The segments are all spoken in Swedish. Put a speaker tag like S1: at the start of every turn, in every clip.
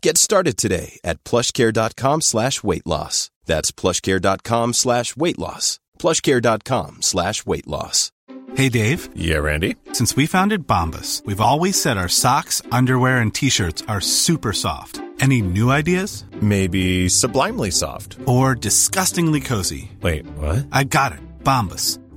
S1: Get started today at plushcare.com slash weight loss. That's plushcare.com slash weight loss. Plushcare.com slash weight loss.
S2: Hey, Dave.
S3: Yeah, Randy.
S2: Since we founded Bombus, we've always said our socks, underwear, and t shirts are super soft. Any new ideas?
S3: Maybe sublimely soft.
S2: Or disgustingly cozy.
S3: Wait, what?
S2: I got it. Bombus.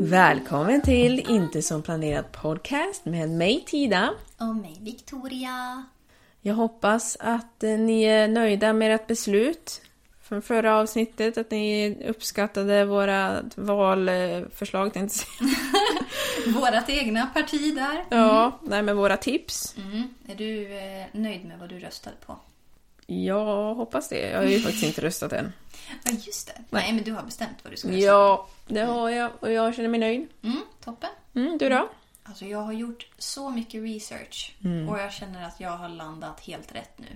S4: Välkommen till Inte som planerat podcast med mig Tida.
S5: Och mig, Victoria.
S4: Jag hoppas att eh, ni är nöjda med ert beslut från förra avsnittet, att ni uppskattade våra valförslag, tänkte jag säga.
S6: Vårat egna parti där.
S4: Ja, nej men våra tips.
S6: Mm. Är du eh, nöjd med vad du röstade på?
S4: Jag hoppas det. Jag har ju faktiskt inte röstat än.
S6: Ja, just det. Nej, men du har bestämt vad du ska rösta
S4: Ja, det har jag och jag känner mig nöjd.
S6: på. Mm, toppen.
S4: Mm, du då?
S6: Alltså, jag har gjort så mycket research och jag känner att jag har landat helt rätt nu.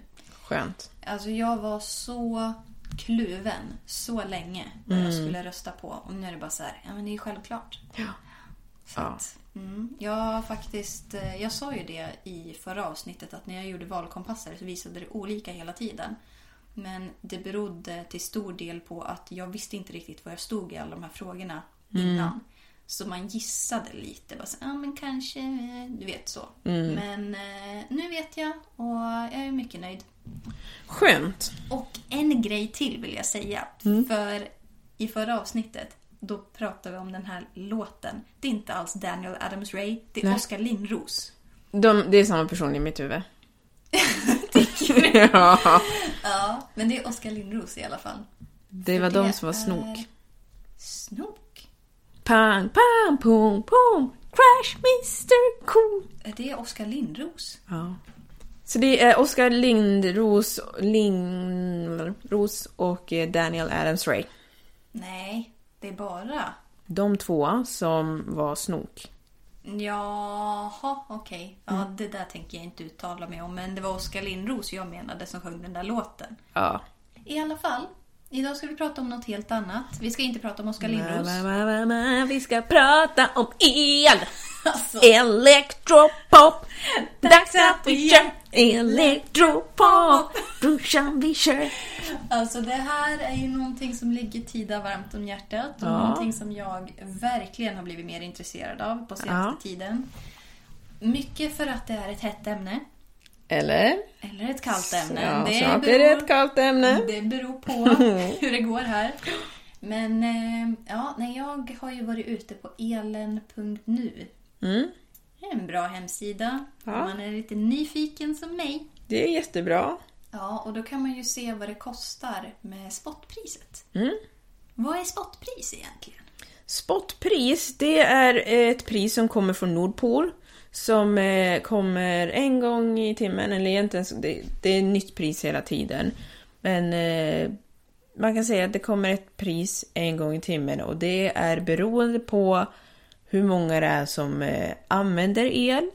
S4: Skönt.
S6: Alltså, jag var så kluven så länge vad jag skulle rösta på och nu är det bara så här, ja men det är självklart. Så
S4: Ja.
S6: att, mm, jag har faktiskt, eh, jag sa ju det i förra avsnittet att när jag gjorde valkompasser så visade det olika hela tiden. Men det berodde till stor del på att jag visste inte riktigt var jag stod i alla de här frågorna innan. Så man gissade lite. Bara så, ah, men kanske, eh, du vet så. Men eh, nu vet jag och jag är mycket nöjd.
S4: Skönt.
S6: Och en grej till vill jag säga.
S4: Mm.
S6: För i förra avsnittet då pratade vi om den här låten. Det är inte alls Daniel Adams-Ray, det är Oskar Lindros.
S4: De, det är samma person i mitt huvud. ja,
S6: Ja, men det är Oskar Lindros i alla fall.
S4: det var de som var snok.
S6: Snok?
S4: Pang, pang, pong, pong. Crash Mr Cool.
S6: Är det Oskar Lindros?
S4: Ja. Så det är Oskar Lindros, Lindros och eh, Daniel Adams-Ray.
S6: Nej, det är bara...
S4: De två som var snok.
S6: Jaha, okej. Ja,
S4: Mm.
S6: det där tänker jag inte uttala mig om. Men det var Oskar Lindros jag menade som sjöng den där låten.
S4: Ja.
S6: I alla fall, idag ska vi prata om något helt annat. Vi ska inte prata om Oskar Lindros.
S4: Vi ska prata om el!
S6: Alltså.
S4: Elektropop! Dags att vi kör elektropop! Brorsan vi kör!
S6: Alltså det här är ju någonting som ligger Tida varmt om hjärtat och någonting som jag verkligen har blivit mer intresserad av på senaste
S4: Ja.
S6: tiden. Mycket för att det är ett hett ämne.
S4: Eller?
S6: Eller ett kallt ämne.
S4: Ja, snart är det ett kallt ämne.
S6: Det beror på hur det går här. Men eh, ja, nej, jag har ju varit ute på elen.nu.
S4: Mm.
S6: Det är en bra hemsida.
S4: Ja.
S6: Om man är lite nyfiken som mig.
S4: Det är jättebra.
S6: Ja, och då kan man ju se vad det kostar med spotpriset.
S4: Mm.
S6: Vad är spotpris egentligen?
S4: Spotpris, det är eh, ett pris som kommer från Nordpol. Som eh, kommer en gång i timmen, eller egentligen så- det, det är nytt pris hela tiden. Men eh, man kan säga att det kommer ett pris en gång i timmen och det är beroende på hur många det är som eh, använder el.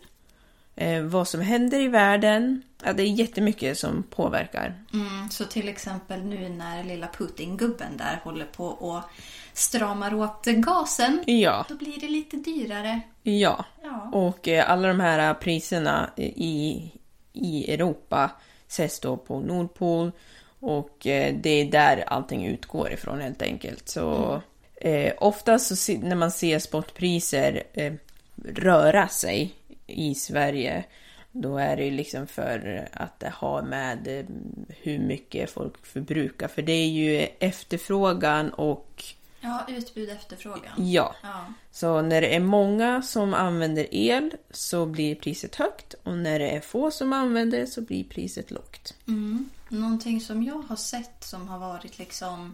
S4: eh, vad som händer i världen. Ja, det är jättemycket som påverkar.
S6: Mm, så till exempel nu när lilla Putin-gubben där håller på och stramar åt gasen.
S4: Ja.
S6: Då blir det lite dyrare.
S4: Ja.
S6: Ja.
S4: Och eh, alla de här priserna i, i Europa sätts då på Nordpol och eh, det är där allting utgår ifrån helt enkelt. Så eh, oftast så se, när man ser spotpriser eh, röra sig i Sverige då är det ju liksom för att det har med eh, hur mycket folk förbrukar. För det är ju efterfrågan och
S6: Ja, utbud och efterfrågan.
S4: ja.
S6: Ja.
S4: Så när det är många som använder el så blir priset högt och när det är få som använder så blir priset lågt.
S6: Mm. Någonting som jag har sett som har varit liksom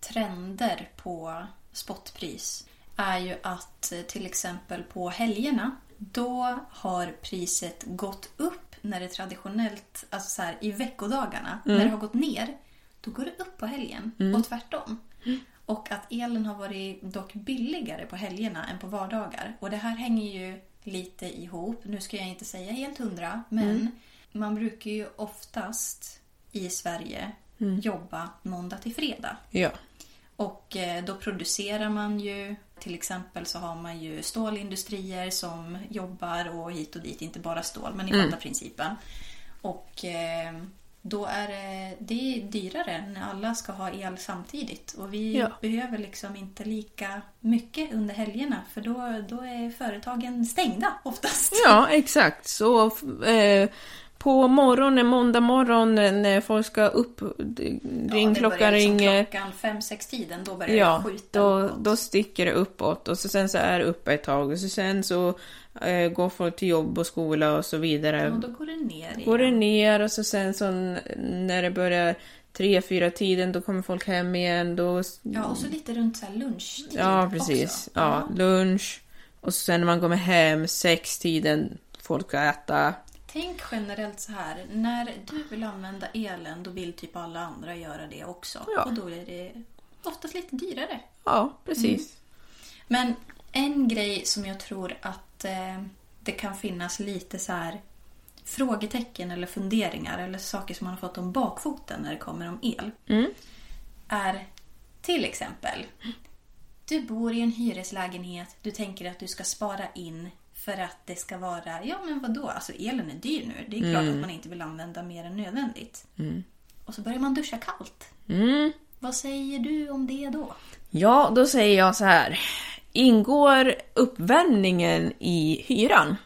S6: trender på spotpris är ju att eh, till exempel på helgerna då har priset gått upp när det traditionellt, alltså så här, i veckodagarna, när det har gått ner, då går det upp på helgen och tvärtom. Och att elen har varit dock billigare på helgerna än på vardagar. Och det här hänger ju lite ihop. Nu ska jag inte säga helt hundra, men man brukar ju oftast i Sverige jobba måndag till fredag.
S4: Ja.
S6: Och eh, då producerar man ju, till exempel så har man ju stålindustrier som jobbar och hit och dit, inte bara stål, men ni
S4: Mm.
S6: fattar principen. Och eh, då är det, det är dyrare när alla ska ha el samtidigt och vi
S4: Ja.
S6: behöver liksom inte lika mycket under helgerna för då, då är företagen stängda oftast.
S4: Ja, exakt. Så f- eh, på morgonen, måndag morgon eh, när folk ska upp, d- ringklockan
S6: börjar liksom
S4: ringer.
S6: Klockan fem, sex tiden, då börjar
S4: Ja,
S6: det skjuta
S4: då,
S6: uppåt.
S4: då sticker det uppåt och så sen så är det uppe ett tag och så sen så eh, går folk till jobb och skola och så vidare.
S6: och då går det ner
S4: går det
S6: igen.
S4: ner och så sen så n- när det börjar tre, fyra tiden då kommer folk hem igen. Då,
S6: Ja, och så lite runt så här lunchtid
S4: Mm. ja, precis.
S6: också.
S4: Ja, lunch. Och så sen när man kommer hem, sex tiden folk ska äta.
S6: Tänk generellt så här, när du vill använda elen då vill typ alla andra göra det också.
S4: Ja.
S6: Och då är det oftast lite dyrare.
S4: Ja, precis.
S6: Men en grej som jag tror att eh, det kan finnas lite så här frågetecken eller funderingar eller saker som man har fått om bakfoten när det kommer om el. Är till exempel, du bor i en hyreslägenhet, du tänker att du ska spara in för att det ska vara, ja men vad då? alltså elen är dyr nu. Det är klart att man inte vill använda mer än nödvändigt. Och så börjar man duscha kallt.
S4: Mm.
S6: Vad säger du om det då?
S4: Ja, då säger jag så här. Ingår uppvärmningen i hyran?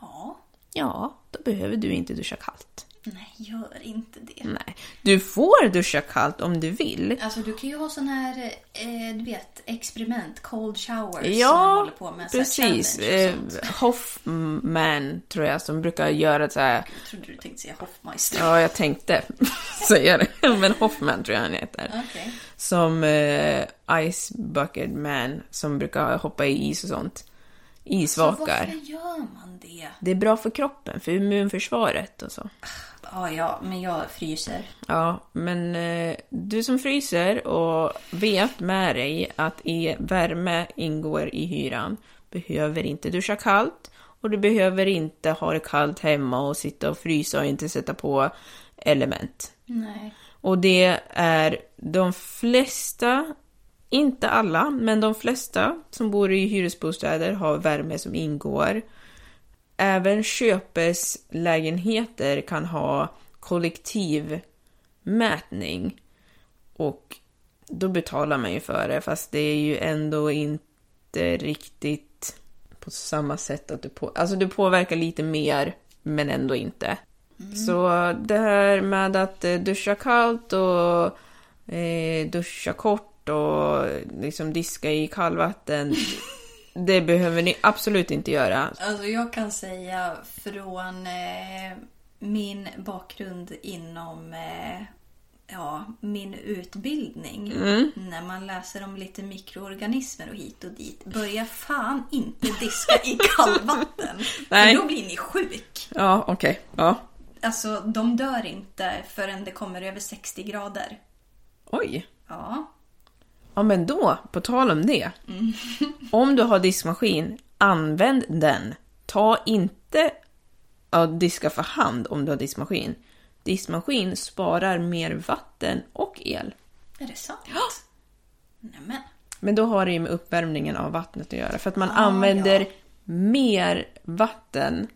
S6: Ja,
S4: Ja, då behöver du inte duscha kallt.
S6: nej gör inte det.
S4: Nej. Du får duscha kallt om du vill.
S6: Alltså du kan ju ha sån här, eh, du vet, experiment, cold showers som man
S4: Ja,
S6: håller på med. så här
S4: precis.
S6: challenge
S4: Eh,
S6: och sånt.
S4: Hoffman tror jag som brukar göra så här.
S6: Jag trodde du tänkte säga Hoffmeister.
S4: Ja, jag tänkte säga det. Men Hoffman tror jag han heter.
S6: Okej.
S4: Som eh, Ice Bucket Man som brukar hoppa i is och sånt. Isvakar.
S6: Varför gör man det?
S4: Det är bra för kroppen, för immunförsvaret och så.
S6: Ja, ja, men jag fryser.
S4: Ja, men eh, du som fryser och vet med dig att i värme ingår i hyran behöver inte duscha kallt och du behöver inte ha det kallt hemma och sitta och frysa och inte sätta på element.
S6: Nej.
S4: Och det är de flesta, inte alla, men de flesta som bor i hyresbostäder har värme som ingår. Även köpeslägenheter kan ha kollektivmätning och då betalar man ju för det fast det är ju ändå inte riktigt på samma sätt att du på, alltså du påverkar lite mer men ändå inte. Så det här med att eh, duscha kallt och eh, duscha kort och liksom diska i kallvatten. det behöver ni absolut inte göra.
S6: Alltså jag kan säga från eh, min bakgrund inom eh, ja, min utbildning.
S4: Mm.
S6: När man läser om lite mikroorganismer och hit och dit. Börja fan inte diska i kallvatten.
S4: Nej.
S6: För då blir ni sjuk.
S4: Ja, okej. Ja.
S6: Alltså de dör inte förrän det kommer över 60 grader.
S4: Oj.
S6: Ja.
S4: Ja men då, på tal om det. Om du har diskmaskin, använd den. Ta inte att diska för hand om du har diskmaskin. Diskmaskin sparar mer vatten och el.
S6: Är det sant? Nämen.
S4: Men då har det ju med uppvärmningen av vattnet att göra. För att man använder
S6: Ah, ja.
S4: mer vatten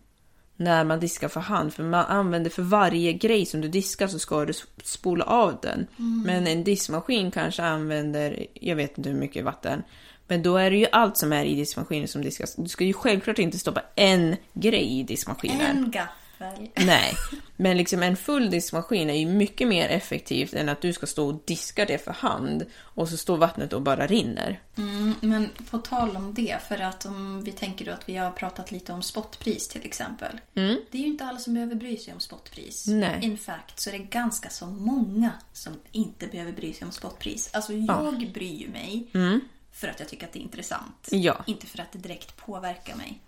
S4: när man diskar för hand. För man använder för varje grej som du diskar så ska du s- spola av den.
S6: Mm.
S4: Men en diskmaskin kanske använder, jag vet inte hur mycket vatten. Men då är det ju allt som är i diskmaskinen som diskas. Du ska ju självklart inte stoppa en grej i diskmaskinen.
S6: En gaffel.
S4: Nej, men liksom en full diskmaskin är ju mycket mer effektivt än att du ska stå och diska det för hand och så står vattnet och bara rinner.
S6: Mm, men på tal om det, för att om vi tänker då att vi har pratat lite om spotpris till exempel. Det är ju inte alla som behöver bry sig om spotpris.
S4: Mm. Nej.
S6: In fact så är det ganska så många som inte behöver bry sig om spotpris. Alltså jag bryr ju mig för att jag tycker att det är intressant.
S4: Mm. Ja.
S6: Inte för att det direkt påverkar mig.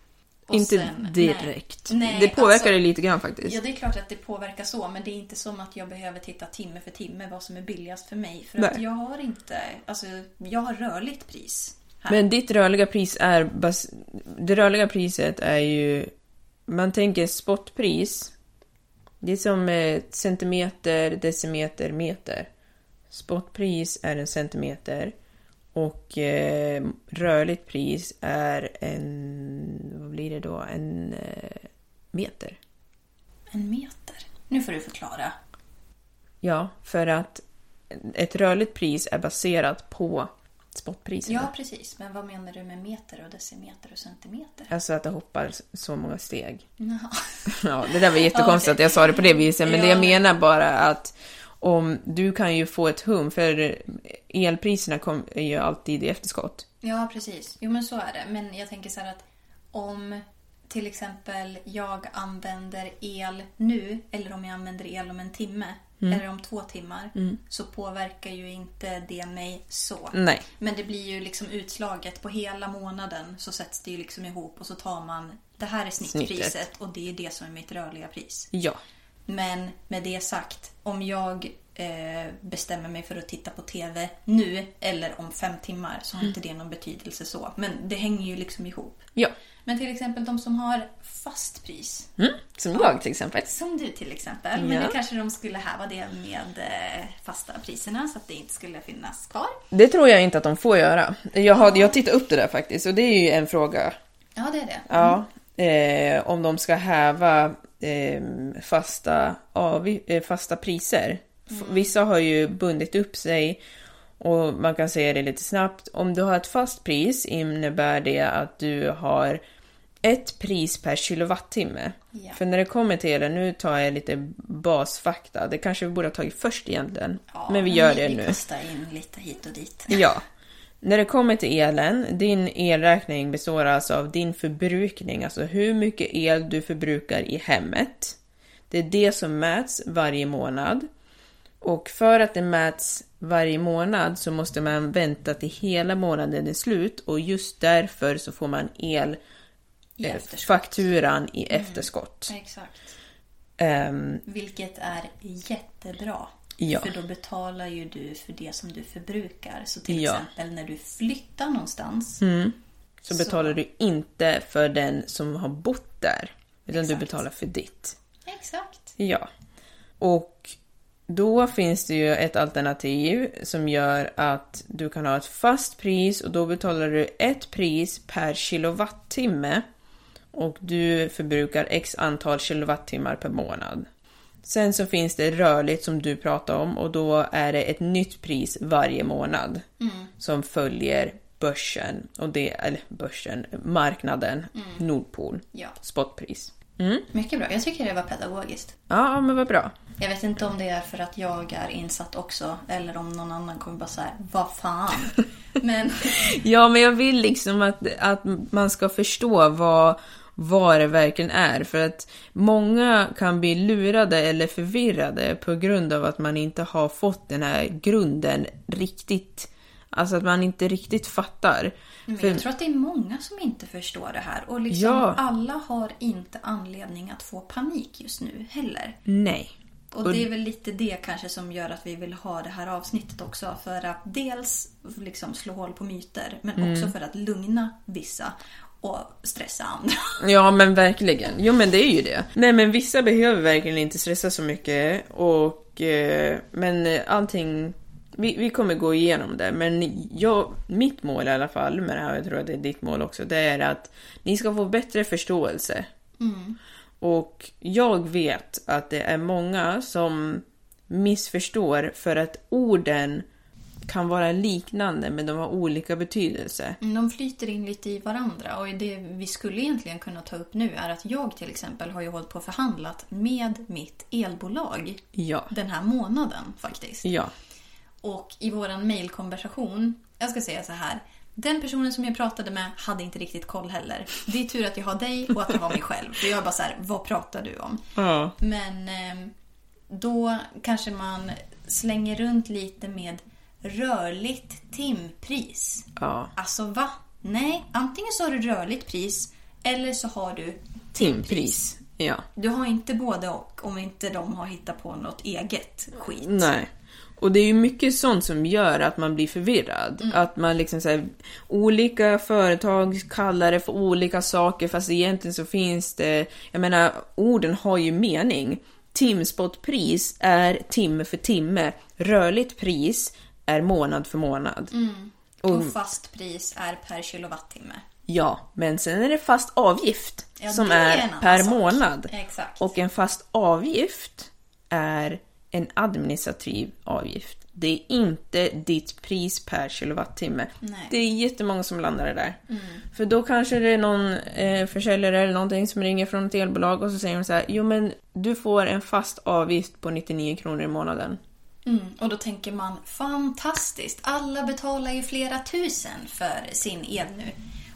S6: Och
S4: Inte
S6: sen-
S4: direkt.
S6: Nej. Nej,
S4: det påverkar
S6: alltså-
S4: det lite grann faktiskt.
S6: Ja, det är klart att det påverkar så, men det är inte som att jag behöver titta timme för timme vad som är billigast för mig. För att
S4: Nej.
S6: jag har inte, alltså jag har rörligt pris. Här.
S4: Men ditt rörliga pris är... Bas- det rörliga priset är ju... Man tänker spotpris. Det är som eh, centimeter, decimeter, meter. Spotpris är en centimeter. Och eh, rörligt pris är en... Vad blir det då? En eh, meter.
S6: En meter. Nu får du förklara.
S4: Ja, för att ett rörligt pris är baserat på spotpriset.
S6: Ja, precis. Men vad menar du med meter och decimeter och centimeter?
S4: Alltså att det hoppar så många steg.
S6: Jaha.
S4: Ja, det där var jättekonstigt
S6: Ja,
S4: att jag sa det på det viset, men det
S6: Ja,
S4: jag
S6: nej.
S4: menar bara att om du kan ju få ett hum, för elpriserna kom, är ju alltid i efterskott.
S6: Ja, precis. Jo, men så är det. Men jag tänker så här att om till exempel jag använder el nu eller om jag använder el om en timme
S4: Mm.
S6: eller om två timmar så påverkar ju inte det mig så.
S4: Nej.
S6: Men det blir ju liksom utslaget på hela månaden så sätts det ju liksom ihop och så tar man det här är snittpriset
S4: Snittet.
S6: och det är det som är mitt rörliga pris.
S4: Ja.
S6: Men med det sagt, om jag eh, bestämmer mig för att titta på TV nu eller om fem timmar så har
S4: Mm.
S6: inte det någon betydelse så. Men det hänger ju liksom ihop.
S4: Ja.
S6: Men till exempel de som har fast pris,
S4: Mm, som jag till exempel.
S6: som du till exempel. Men
S4: Ja.
S6: nu kanske de skulle häva det med eh, fasta priserna så att det inte skulle finnas kvar.
S4: Det tror jag inte att de får göra. Jag har jag tittat upp det där faktiskt, och det är ju en fråga.
S6: Ja, det är det.
S4: Ja. Eh, om de ska häva eh, fasta, avgi- eh, fasta priser. F-
S6: Mm.
S4: Vissa har ju bundit upp sig och man kan säga det lite snabbt. Om du har ett fast pris innebär det att du har ett pris per kilowattimme.
S6: Ja.
S4: För när det kommer till det, nu tar jag lite basfakta, det kanske vi borde ha tagit först egentligen.
S6: Ja,
S4: men vi gör det
S6: vi
S4: nu.
S6: kastar in lite hit och dit.
S4: Ja. När det kommer till elen, din elräkning består alltså av din förbrukning, alltså hur mycket el du förbrukar i hemmet. Det är det som mäts varje månad. Och för att det mäts varje månad så måste man vänta till hela månaden är slut och just därför så får man
S6: I efterskott. Mm.
S4: elfakturan i efterskott.
S6: Exakt.
S4: Ehm,
S6: Vilket är jättebra.
S4: Ja.
S6: För då betalar ju du för det som du förbrukar. Så till
S4: Ja. Mm.
S6: exempel när du flyttar någonstans.
S4: så betalar du inte för den som har bott där, utan du betalar för ditt.
S6: Exakt.
S4: Ja. Och då finns det ju ett alternativ som gör att du kan ha ett fast pris och då betalar du ett pris per kilowattimme och du förbrukar x antal kilowattimmar per månad. Sen så finns det rörligt som du pratade om och då är det ett nytt pris varje månad som följer börsen och det, eller börsen, marknaden, Nordpol,
S6: Ja.
S4: spotpris.
S6: Mycket bra. Jag tycker det var pedagogiskt.
S4: Ja, men vad bra.
S6: Jag vet inte om det är för att jag är insatt också. Eller om någon annan kommer bara så här, vad fan. Men
S4: Ja, men jag vill liksom att, att man ska förstå vad, vad det verkligen är. För att många kan bli lurade eller förvirrade på grund av att man inte har fått den här grunden riktigt. Alltså att man inte riktigt fattar.
S6: Men
S4: För,
S6: jag tror att det är många som inte förstår det här. Och liksom
S4: Ja.
S6: alla har inte anledning att få panik just nu heller.
S4: nej.
S6: Och det är väl lite det kanske som gör att vi vill ha det här avsnittet också. Mm. För att dels liksom slå hål på myter men också för att lugna vissa. och stressa andra.
S4: Ja men verkligen. Jo men det är ju det. Nej men vissa behöver verkligen inte stressa så mycket och eh, men eh, allting vi, vi kommer gå igenom det, men jag, mitt mål i alla fall med det här, och jag tror att det är ditt mål också, det är att ni ska få bättre förståelse. Och jag vet att det är många som missförstår för att orden kan vara liknande men de har olika betydelse.
S6: De flyter in lite i varandra och det vi skulle egentligen kunna ta upp nu är att jag till exempel har ju hållit på och förhandlat med mitt elbolag
S4: Ja.
S6: den här månaden faktiskt.
S4: Ja.
S6: Och i våran mejlkonversation, jag ska säga så här. Den personen som jag pratade med hade inte riktigt koll heller. Det är tur att jag har dig och att jag har mig själv. För jag är bara så här, vad pratar du om?
S4: Ja.
S6: Men eh, då kanske man slänger runt lite med rörligt timpris.
S4: Ja.
S6: Alltså va? Nej, antingen så har du rörligt pris eller så har du
S4: Timpris. Ja.
S6: du har inte både och om inte de har hittat på något eget skit.
S4: Nej. Och det är ju mycket sånt som gör att man blir förvirrad. Att man liksom så här, olika företag kallar det för olika saker fast egentligen så finns det, jag menar orden har ju mening. Timspotpris är timme för timme, rörligt pris är månad för månad.
S6: Och fast pris är per kilowattimme.
S4: Ja, men sen är det fast avgift
S6: Ja,
S4: som
S6: det är
S4: är,
S6: en annan
S4: per
S6: sak.
S4: månad.
S6: Exakt.
S4: Och en fast avgift är en administrativ avgift. Det är inte ditt pris per kilowattimme.
S6: Nej. Mm.
S4: Det är jättemånga som landar det där. För då kanske det är någon eh, försäljare eller någonting som ringer från ett elbolag och så säger de så här, jo men du får en fast avgift på 99 kronor i månaden.
S6: Mm, och då tänker man fantastiskt, alla betalar ju flera tusen för sin el nu.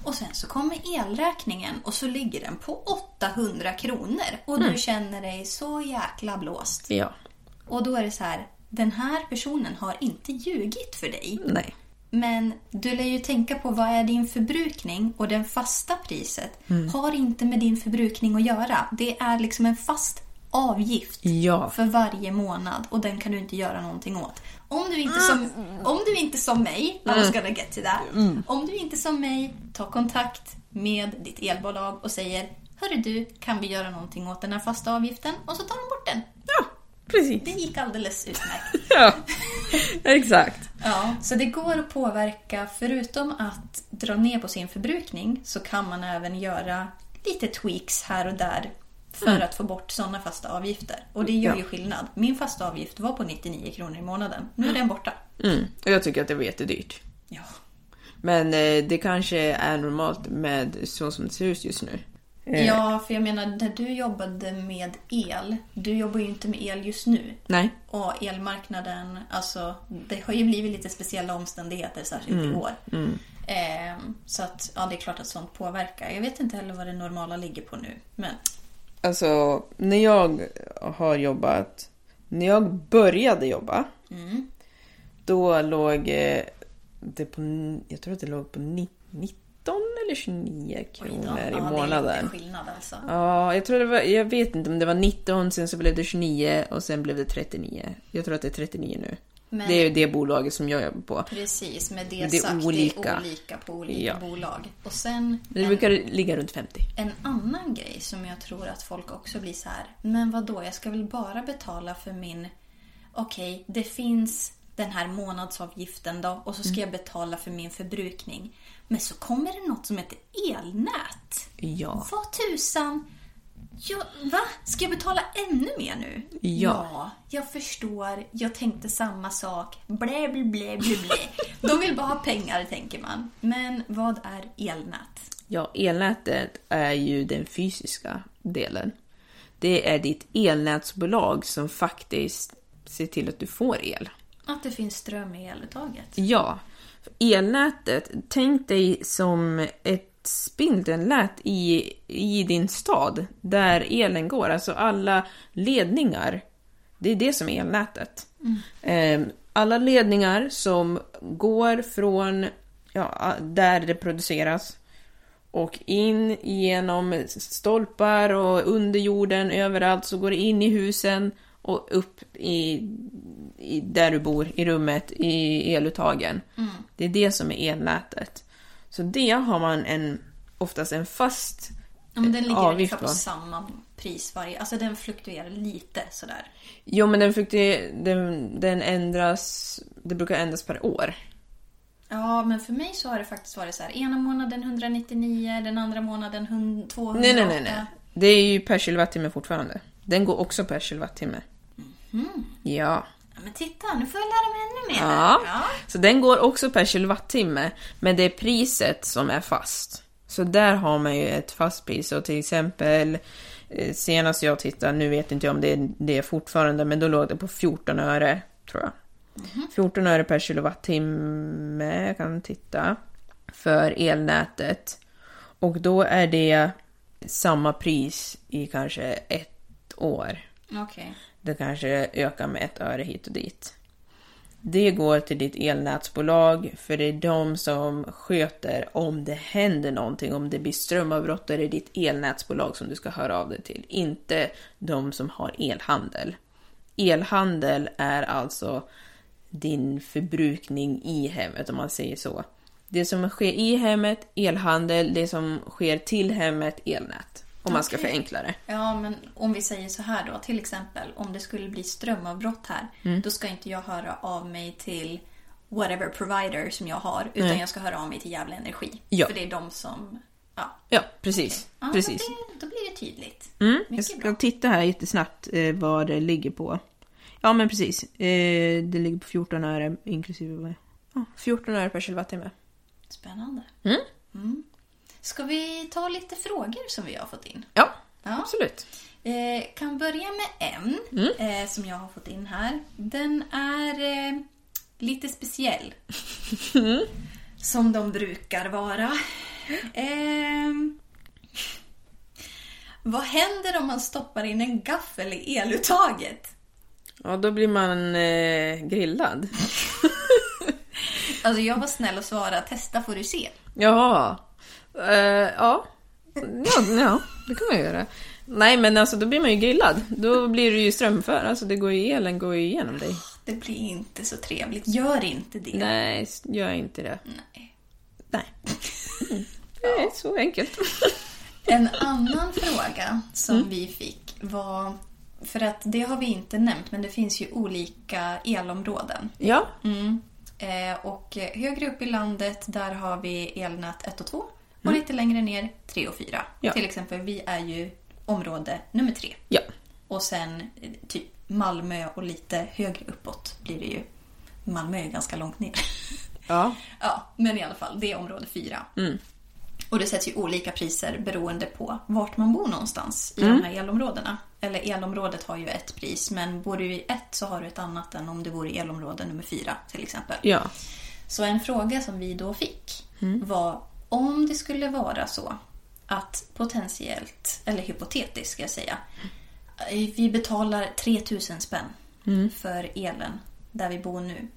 S6: Och sen så kommer elräkningen och så ligger den på 800 kronor och du känner dig så jäkla blåst.
S4: Ja.
S6: Och då är det så här, den här personen har inte ljugit för dig.
S4: Nej.
S6: Men du lär ju tänka på vad är din förbrukning och det fasta priset har inte med din förbrukning att göra. Det är liksom en fast avgift
S4: Ja.
S6: för varje månad och den kan du inte göra någonting åt. Om du inte som, om du inte som mig, I was gonna get to that. Om du inte som mig tar kontakt med ditt elbolag och säger Hörru du, kan vi göra någonting åt den här fasta avgiften? Och så tar de bort den.
S4: Ja, precis.
S6: Det gick alldeles utmärkt.
S4: Ja. Exakt.
S6: Ja, så det går att påverka. Förutom att dra ner på sin förbrukning så kan man även göra lite tweaks här och där för att få bort sådana fasta avgifter. Och det gör ju skillnad. Min fasta avgift var på 99 kronor i månaden. Nu är den borta.
S4: Mm. Och jag tycker att det var jättedyrt.
S6: Ja.
S4: Men eh, det kanske är normalt med så som det ser ut just nu.
S6: ja, för jag menar, när du jobbade med el, du jobbar ju inte med el just nu.
S4: Nej.
S6: Och elmarknaden, alltså det har ju blivit lite speciella omständigheter särskilt
S4: Mm.
S6: i år. Ehm, så att ja, det är klart att sånt påverkar. Jag vet inte heller vad det normala ligger på nu. Men
S4: Alltså, när jag har jobbat... När jag började jobba,
S6: Mm.
S4: då låg eh, det på... Jag tror att det låg på ni- 19 eller 29 kronor i
S6: Det är
S4: månaden.
S6: lite skillnad alltså.
S4: Ja, jag tror det var, jag vet inte om det var 19, sen så blev det 29 och sen blev det 39. Jag tror att det är 39 nu.
S6: Men-
S4: Det är ju det bolaget som jag jobbar på.
S6: Precis, med det,
S4: Det är
S6: sagt, det är
S4: olika.
S6: olika på olika
S4: Ja.
S6: bolag. Och sen
S4: Det brukar ligga runt 50.
S6: En annan grej som jag tror att folk också blir så här, men vad då? jag ska väl bara betala för min... Okej, det finns den här månadsavgiften då och så
S4: Mm.
S6: ska jag betala för min förbrukning. Men så kommer det något som heter elnät.
S4: Ja.
S6: Vad tusan! Ja, va? Ska jag betala ännu mer nu?
S4: Ja.
S6: jag förstår. Jag tänkte samma sak. Blä, blä, blä, blä, blä. De vill bara ha pengar, tänker man. Men vad är elnät?
S4: Ja, elnätet är ju den fysiska delen. Det är ditt elnätsbolag som faktiskt ser till att du får el.
S6: Att det finns ström i eluttaget.
S4: Ja, elnätet, tänk dig som ett spindelnät i, i din stad där elen går, alltså alla ledningar. Det är det som är elnätet. Ehm, Alla ledningar som går från ja, där det produceras och in genom stolpar och under jorden överallt så går det in i husen och upp i, i där du bor, i rummet,
S6: Mm.
S4: i eluttagen. Det är det som är elnätet. Så det har man en oftast en fast
S6: Ja, men den ligger
S4: avgift
S6: ungefär på
S4: va?
S6: samma pris varje... Alltså den fluktuerar lite sådär.
S4: Jo men den, fick det, den, den ändras, det brukar ändras per år.
S6: Ja, men för mig så har det faktiskt varit så här. Ena månaden 199, den andra månaden hun- 208.
S4: Nej nej nej nej. Det är ju per kilowattimme fortfarande. Den går också per kilowattimme.
S6: Mhm.
S4: Ja.
S6: Ja, men titta, nu får jag lära mig ännu mer.
S4: Ja.
S6: Ja.
S4: Så den går också per kilowattimme, men det är priset som är fast. Så där har man ju ett fast pris. Så till exempel, eh, senast jag tittade, nu vet inte jag om det är det är fortfarande, men då låg det på 14 öre, tror jag. 14 öre per kilowattimme, jag kan titta, för elnätet. Och då är det samma pris i kanske ett år.
S6: Okej.
S4: Det kanske ökar med ett öre hit och dit. Det går till ditt elnätsbolag för det är de som sköter om det händer någonting. Om det blir strömavbrott då är det ditt elnätsbolag som du ska höra av dig till. Inte de som har elhandel. Elhandel är alltså din förbrukning i hemmet om man säger så. Det som sker i hemmet, elhandel. Det som sker till hemmet, elnät. Om man ska
S6: Okej.
S4: förenkla det.
S6: Ja, men om vi säger så här då. Till exempel, om det skulle bli strömavbrott här.
S4: Mm.
S6: Då ska inte jag höra av mig till whatever provider som jag har. Utan jag ska höra av mig till Gävle Energi.
S4: Ja.
S6: För det är de som... Ja,
S4: Ja, precis.
S6: ja men
S4: precis. Mm.
S6: Det, då blir det tydligt.
S4: Jag
S6: Mycket
S4: ska
S6: bra.
S4: titta här jättesnabbt eh, vad det ligger på. Ja men precis. Eh, det ligger på 14 öre inklusive... Ja, 14 öre per kilowattimme.
S6: Spännande. Mm. Ska vi ta lite frågor som vi har fått in?
S4: Ja,
S6: Ja.
S4: absolut.
S6: Eh, kan börja med en
S4: Mm.
S6: eh, som jag har fått in här. Den är eh, lite speciell.
S4: Mm.
S6: Som de brukar vara. Ehm, vad händer om man stoppar in en gaffel i eluttaget?
S4: Ja, då blir man eh, grillad.
S6: Alltså jag var snäll och svara testa får du se.
S4: Jaha. Eh, ja. Ja, ja, det kan man göra. Nej men alltså då blir man ju grillad. Då blir du ju strömför. Alltså det går ju elen går ju igenom dig.
S6: Det blir inte så trevligt. Gör inte det.
S4: Nej, gör inte det.
S6: Nej.
S4: Nej. Nej, så enkelt.
S6: En annan fråga som
S4: Mm.
S6: vi fick var, för att det har vi inte nämnt, men det finns ju olika elområden.
S4: Ja.
S6: Eh, och eh, högre upp i landet där har vi elnät 1 och 2 och lite längre ner 3 och 4.
S4: Mm. Ja.
S6: Till exempel, vi är ju område nummer 3.
S4: Ja.
S6: Och sen eh, typ Malmö och lite högre uppåt blir det ju. Malmö är ju ganska långt ner.
S4: Ja.
S6: Ja, men i alla fall, det är område 4. Och det sätts ju olika priser beroende på vart man bor någonstans i de här elområdena. Eller elområdet har ju ett pris, men bor du i ett så har du ett annat än om du bor i elområde nummer 4 till exempel.
S4: Ja.
S6: Så en fråga som vi då fick var om det skulle vara så att potentiellt, eller hypotetiskt ska jag säga, vi betalar 3000 spänn för elen där vi bor nu.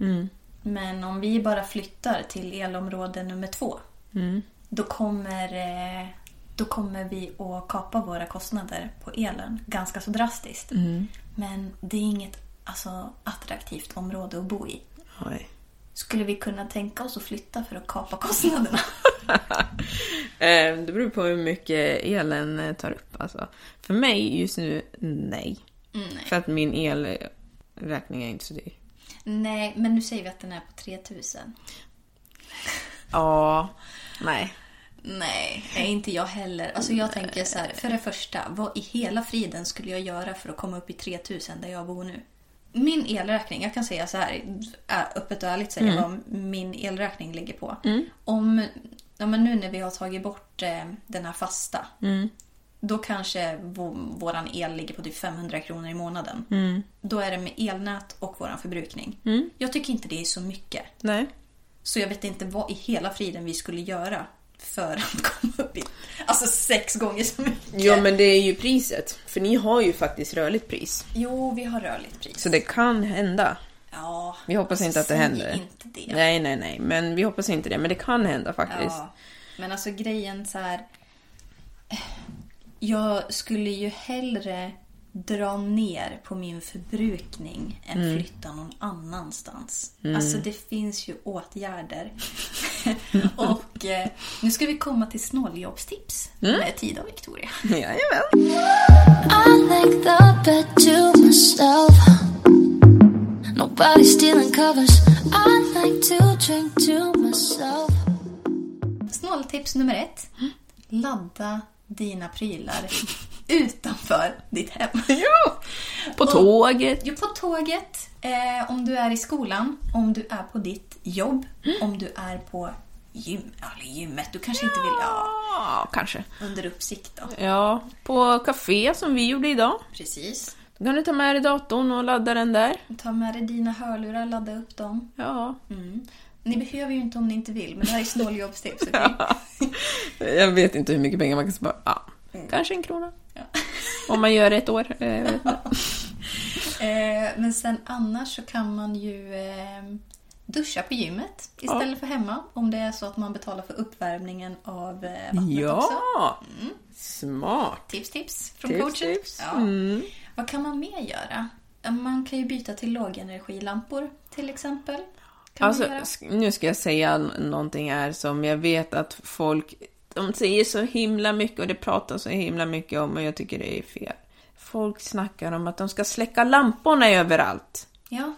S6: Men om vi bara flyttar till elområde nummer två, då, kommer, eh, då kommer vi att kapa våra kostnader på elen ganska så drastiskt. Men det är inget alltså, attraktivt område att bo i.
S4: Oj.
S6: Skulle vi kunna tänka oss att flytta för att kapa kostnaderna?
S4: Eh, Det beror på hur mycket elen eh, tar upp. Alltså. För mig just nu, Mm, nej. För att min elräkning är inte så dyr.
S6: Nej, men nu säger vi att den är på 3000.
S4: Ja, nej.
S6: Nej, nej, inte jag heller. Alltså jag tänker så här, för det första, vad i hela friden skulle jag göra för att komma upp i 3000 där jag bor nu? Min elräkning, jag kan säga så här, ä- öppet och ärligt säger jag vad min elräkning ligger på. Om, ja men nu när vi har tagit bort eh, den här fasta, då kanske vå- våran el ligger på typ 500 kronor i månaden. Då är det med elnät och våran förbrukning. Jag tycker inte det är så mycket.
S4: Nej.
S6: Så jag vet inte vad i hela friden vi skulle göra för att komma upp i... Alltså sex gånger så mycket.
S4: Ja, men det är ju priset. För ni har ju faktiskt rörligt pris.
S6: Jo, vi har rörligt pris.
S4: Så det kan hända.
S6: Ja,
S4: Vi hoppas inte att det
S6: säg
S4: händer.
S6: inte det.
S4: Nej, nej, nej. Men vi hoppas inte det. Men det kan hända faktiskt.
S6: Ja. Men alltså grejen så här... Jag skulle ju hellre dra ner på min förbrukning än
S4: Mm.
S6: flytta någon annanstans. Alltså det finns ju åtgärder. och Och eh, nu ska vi komma till snåljåpstips
S4: Mm.
S6: med Tida och Victoria.
S4: Jajamän.
S7: I like the bed to myself. Nobody stealing covers. I like to drink to myself.
S6: Snåltips nummer ett.
S4: Mm.
S6: Ladda dina prylar utanför ditt hem.
S4: Ja. På
S6: Och-
S4: tåget.
S6: Jo, på tåget, eh, om du är i skolan, om du är på ditt jobb,
S4: Mm.
S6: om du är på gym, eller gymmet, du kanske inte vill ja,
S4: Ja, kanske.
S6: under uppsikt då.
S4: Ja, på café som vi gjorde idag.
S6: Precis.
S4: Då kan du ta med dig datorn och ladda den där.
S6: Ta med dig dina hörlurar, ladda upp dem.
S4: Ja.
S6: Mm. Ni behöver ju inte om ni inte vill, men det här är snåljobbstips. okej?
S4: Jag vet inte hur mycket pengar man kan spara. Ja.
S6: Mm.
S4: Kanske en krona. Om man gör det ett år. eh, jag vet inte.
S6: eh, men sen annars så kan man ju eh, duscha på gymmet istället för hemma. Om det är så att man betalar för uppvärmningen av eh, vattnet också. Mm.
S4: Ja! Smart!
S6: Tips, tips från
S4: Tips,
S6: coachen.
S4: tips. Mm.
S6: Ja. Vad kan man mer göra? Man kan ju byta till lågenergilampor till exempel. Kan
S4: Alltså,
S6: man göra.
S4: sk- nu ska jag säga n- någonting här som jag vet att folk de säger så himla mycket och det pratas så himla mycket om och jag tycker det är fel. Folk snackar om att de ska släcka lamporna överallt.
S6: Ja.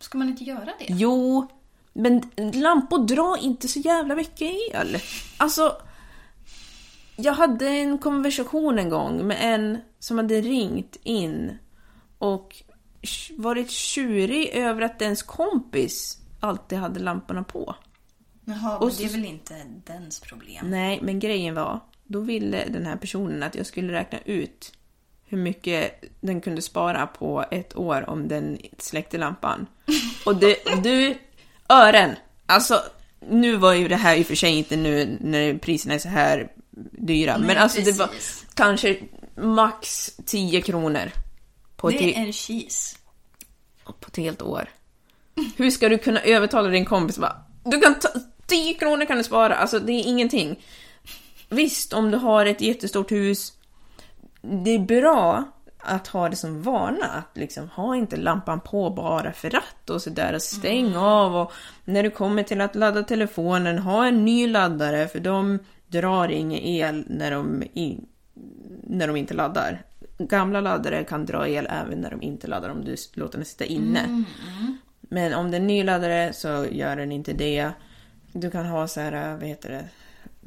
S6: Ska man inte göra det?
S4: Jo, men lampor drar inte så jävla mycket el. Alltså, jag hade en konversation en gång med en som hade ringt in och tj- varit tjurig över att ens kompis alltid hade lamporna på.
S6: Jaha, men
S4: så-
S6: det är väl inte dens problem?
S4: Nej, men grejen var, då ville den här personen att jag skulle räkna ut hur mycket den kunde spara på ett år om den släckte lampan. Och det, du, ören! Alltså, nu var ju det här i och för sig inte nu när priserna är så här dyra,
S6: Nej,
S4: men alltså det var
S6: precis.
S4: kanske max 10 kronor på ett,
S6: Det
S4: he-
S6: är en cheese.
S4: på ett helt år. Hur ska du kunna övertala din kompis bara, du kan ta, 10 kronor kan du spara, alltså det är ingenting. Visst, om du har ett jättestort hus, det är bra att ha det som vana att liksom ha inte lampan på bara för att och sådär och stäng av och när du kommer till att ladda telefonen, ha en ny laddare för de drar ingen el när de, in, när de inte laddar. Gamla laddare kan dra el även när de inte laddar om du s- låter den sitta inne. mm. Men om den är ny laddare så gör den inte det. Du kan ha så här, vad heter det,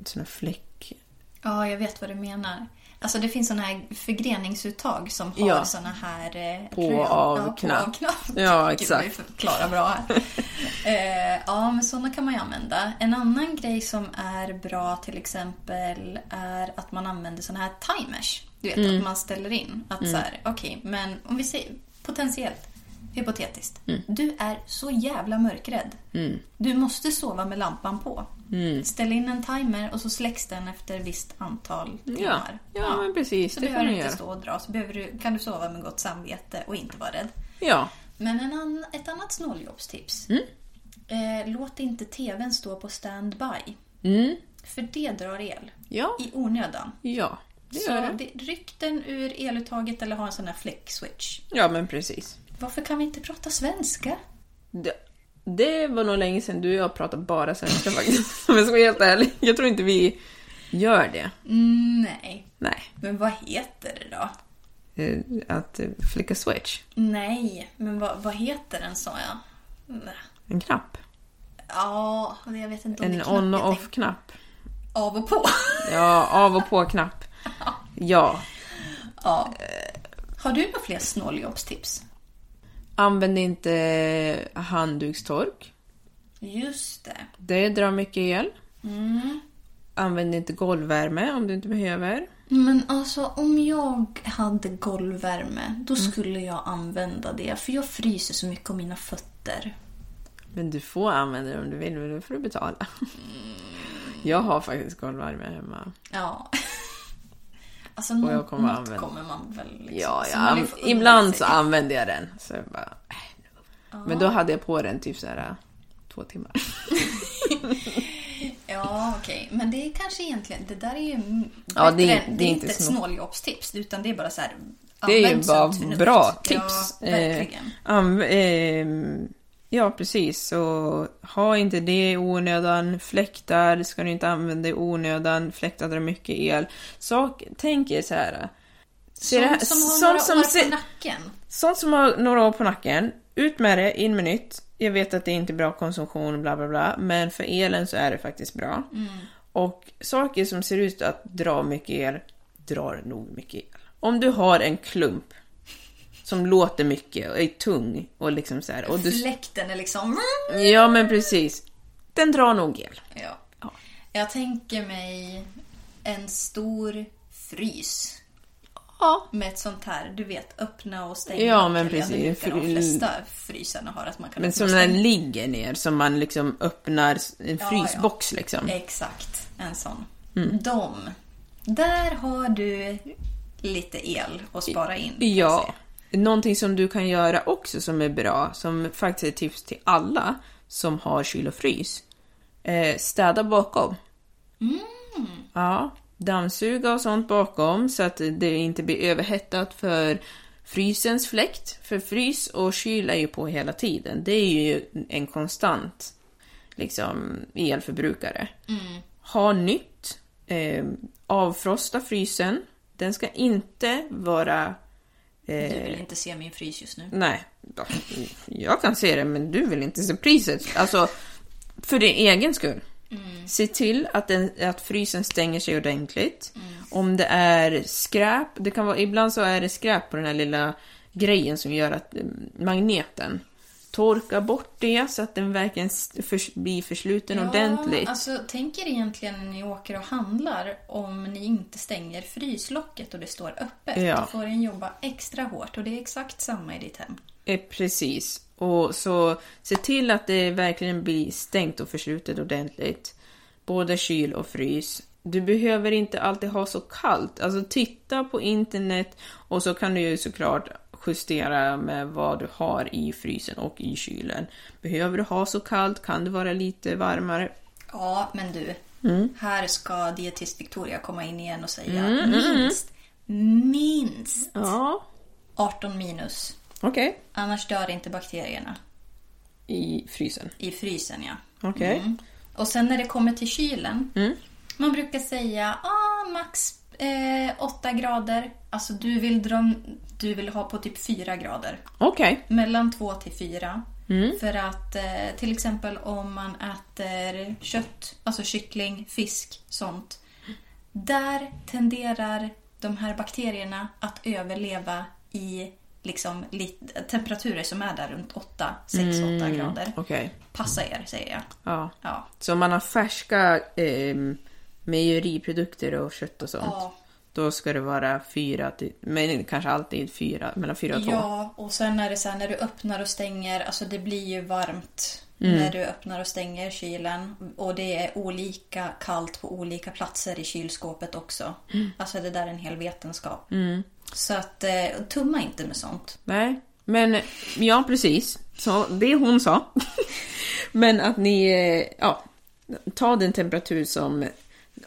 S4: såna fläck...
S6: Ja, jag vet vad du menar. Alltså det finns såna här förgreningsuttag som har
S4: Ja.
S6: såna här... eh,
S4: På
S6: rön-
S4: av
S6: ja,
S4: knapp.
S6: På av knapp.
S4: Ja,
S6: Gud,
S4: exakt.
S6: vi förklarar bra här. eh, ja, men såna kan man ju använda. En annan grej som är bra till exempel är att man använder såna här timers. Du vet,
S4: Mm.
S6: att man ställer in att så här, okej, men om vi säger potentiellt, hypotetiskt.
S4: Mm.
S6: Du är så jävla mörkrädd. Du måste sova med lampan på.
S4: Mm.
S6: Ställ in en timer och så släcks den efter visst antal
S4: Ja,
S6: timmar.
S4: ja men precis.
S6: Så
S4: det
S6: behöver
S4: kan
S6: du
S4: du
S6: inte
S4: göra.
S6: stå och dra, så behöver du, kan du sova med gott samvete och inte vara rädd.
S4: Ja.
S6: Men en an, ett annat snåljåpstips.
S4: Mm.
S6: Eh, låt inte tvn stå på standby.
S4: Mm.
S6: För det drar el.
S4: Ja.
S6: I onödan.
S4: Ja. Det
S6: Så
S4: gör det.
S6: det, ryck den ur eluttaget eller ha en sån här fläck-switch.
S4: Ja men precis.
S6: Varför kan vi inte prata svenska?
S4: Det, det var nog länge sedan du och jag pratade bara svenska faktiskt. Om jag ska vara helt ärlig. Jag tror inte vi gör det.
S6: Mm, Nej.
S4: Nej.
S6: Men vad heter det då?
S4: Eh, Att eh, flicka switch.
S6: Nej, men vad, vad heter den sa jag? Nej.
S4: En knapp.
S6: Ja, jag vet inte om det
S4: En
S6: är knapp,
S4: on
S6: jag
S4: och
S6: tänker.
S4: off-knapp.
S6: Av och på.
S4: Ja, av och på-knapp. Ja.
S6: ja. Har du några fler snåljåpstips?
S4: Använd inte handdukstork.
S6: Just det.
S4: Det drar mycket el.
S6: Mm.
S4: Använd inte golvvärme om du inte behöver.
S6: Men alltså om jag hade golvvärme då
S4: Mm.
S6: skulle jag använda det för jag fryser så mycket om mina fötter.
S4: Men du får använda det om du vill, men då får du betala.
S6: Mm.
S4: Jag har faktiskt golvvärme hemma.
S6: Ja. Alltså
S4: Och jag
S6: något,
S4: kommer
S6: något
S4: använda-
S6: kommer man väl liksom.
S4: Ja,
S6: så
S4: jag
S6: man vill
S4: an-
S6: få undan
S4: ibland så
S6: sig.
S4: använder jag den. Så jag bara, äh, nu. Men då hade jag på den typ så här två timmar.
S6: Ja, okej. Men det är kanske egentligen... Det där är ju m-
S4: Ja,
S6: bättre-
S4: det är-
S6: det,
S4: det är
S6: är
S4: inte
S6: inte ett
S4: snå-
S6: snåljåpstips utan det är bara så här...
S4: Det är ju
S6: använd sunt
S4: bara
S6: förnuft.
S4: bra tips.
S6: Ja,
S4: Eh,
S6: verkligen.
S4: anv- ehm, Ja, precis. Så ha inte det i onödan. Fläktar ska du inte använda i onödan. Fläktar drar mycket el. Sak, tänk er så här. Ser det här-
S6: Sånt som har
S4: sånt
S6: några
S4: som
S6: år
S4: ser-
S6: på nacken.
S4: Sånt som har några år på nacken, ut med det, in med nytt. Jag vet att det inte är bra konsumtion, bla bla bla, men för elen så är det faktiskt bra.
S6: Mm.
S4: Och saker som ser ut att dra mycket el, drar nog mycket el. Om du har en klump som låter mycket och är tung och liksom så här, och du...
S6: Fläkten är liksom...
S4: Ja men precis. Den drar nog el.
S6: Ja. Jag tänker mig en stor frys.
S4: Ja.
S6: Med ett sånt här, du vet, öppna och stänga.
S4: Ja, men
S6: Eller,
S4: precis.
S6: Jag vet inte,
S4: Fry-
S6: de flesta frysarna har att man kan
S4: Men
S6: öppna och
S4: som den
S6: stänga.
S4: ligger ner, som man liksom öppnar en
S6: Ja,
S4: frysbox liksom.
S6: Exakt, en sån.
S4: Mm.
S6: De. Där har du lite el att spara in. kan jag
S4: Ja.
S6: säga.
S4: Någonting som du kan göra också som är bra, som faktiskt är tips till alla som har kyl och frys. Eh, städa bakom. Ja, dammsuga och sånt bakom så att det inte blir överhettat för frysens fläkt. För frys och kyl är ju på hela tiden. Det är ju en konstant liksom, elförbrukare. Ha nytt. Eh, avfrosta frysen. Den ska inte vara
S6: Du
S4: eh,
S6: vill inte se min frys just nu.
S4: Nej, då, jag kan se det men du vill inte se priset. Alltså, för din egen skull. Se till att, den, att frysen stänger sig ordentligt. Om det är skräp, det kan vara, ibland så är det skräp på den här lilla grejen som gör att eh, magneten. Torka bort det så att den verkligen s- förs- blir försluten ordentligt.
S6: Alltså, tänk er egentligen när ni åker och handlar om ni inte stänger fryslocket och det står öppet.
S4: Ja.
S6: Då får den jobba extra hårt och det är exakt samma i ditt hem.
S4: Eh, precis. Och så se till att det verkligen blir stängt och förslutet ordentligt. Både kyl och frys. Du behöver inte alltid ha så kallt. Alltså titta på internet och så kan du ju såklart justera med vad du har i frysen och i kylen. Behöver du ha så kallt? Kan det vara lite varmare?
S6: Ja, men du.
S4: Mm.
S6: Här ska dietist Victoria komma in igen och säga
S4: Mm.
S6: minst, minst
S4: Ja,
S6: 18 minus.
S4: okej.
S6: Annars dör inte bakterierna.
S4: I frysen.
S6: I frysen, ja.
S4: Okej. Mm.
S6: Mm. Och sen när det kommer till kylen. Man brukar säga ah, max eh, 8 grader. Alltså du vill, dra, du vill ha på typ 4 grader.
S4: Okej.
S6: Mellan 2 till 4.
S4: Mm.
S6: För att eh, till exempel om man äter kött, alltså kyckling, fisk, sånt. Där tenderar de här bakterierna att överleva i liksom, lit- temperaturer som är där runt 8, 6, 8 grader.
S4: Mm, Okej.
S6: Passa er, säger jag.
S4: Ja.
S6: Ja.
S4: Så om man har färska ehm, mejeriprodukter och kött och sånt.
S6: Ja.
S4: Då ska det vara fyra, till, men kanske alltid fyra, mellan fyra och två.
S6: Ja, och sen är det så här när du öppnar och stänger, alltså det blir ju varmt
S4: Mm.
S6: när du öppnar och stänger kylen. Och det är olika kallt på olika platser i kylskåpet också.
S4: Mm.
S6: Alltså det där är en hel vetenskap. Så att eh, tumma inte med sånt.
S4: Nej, men ja precis. Så det hon sa. men att ni, eh, ja, ta den temperatur som,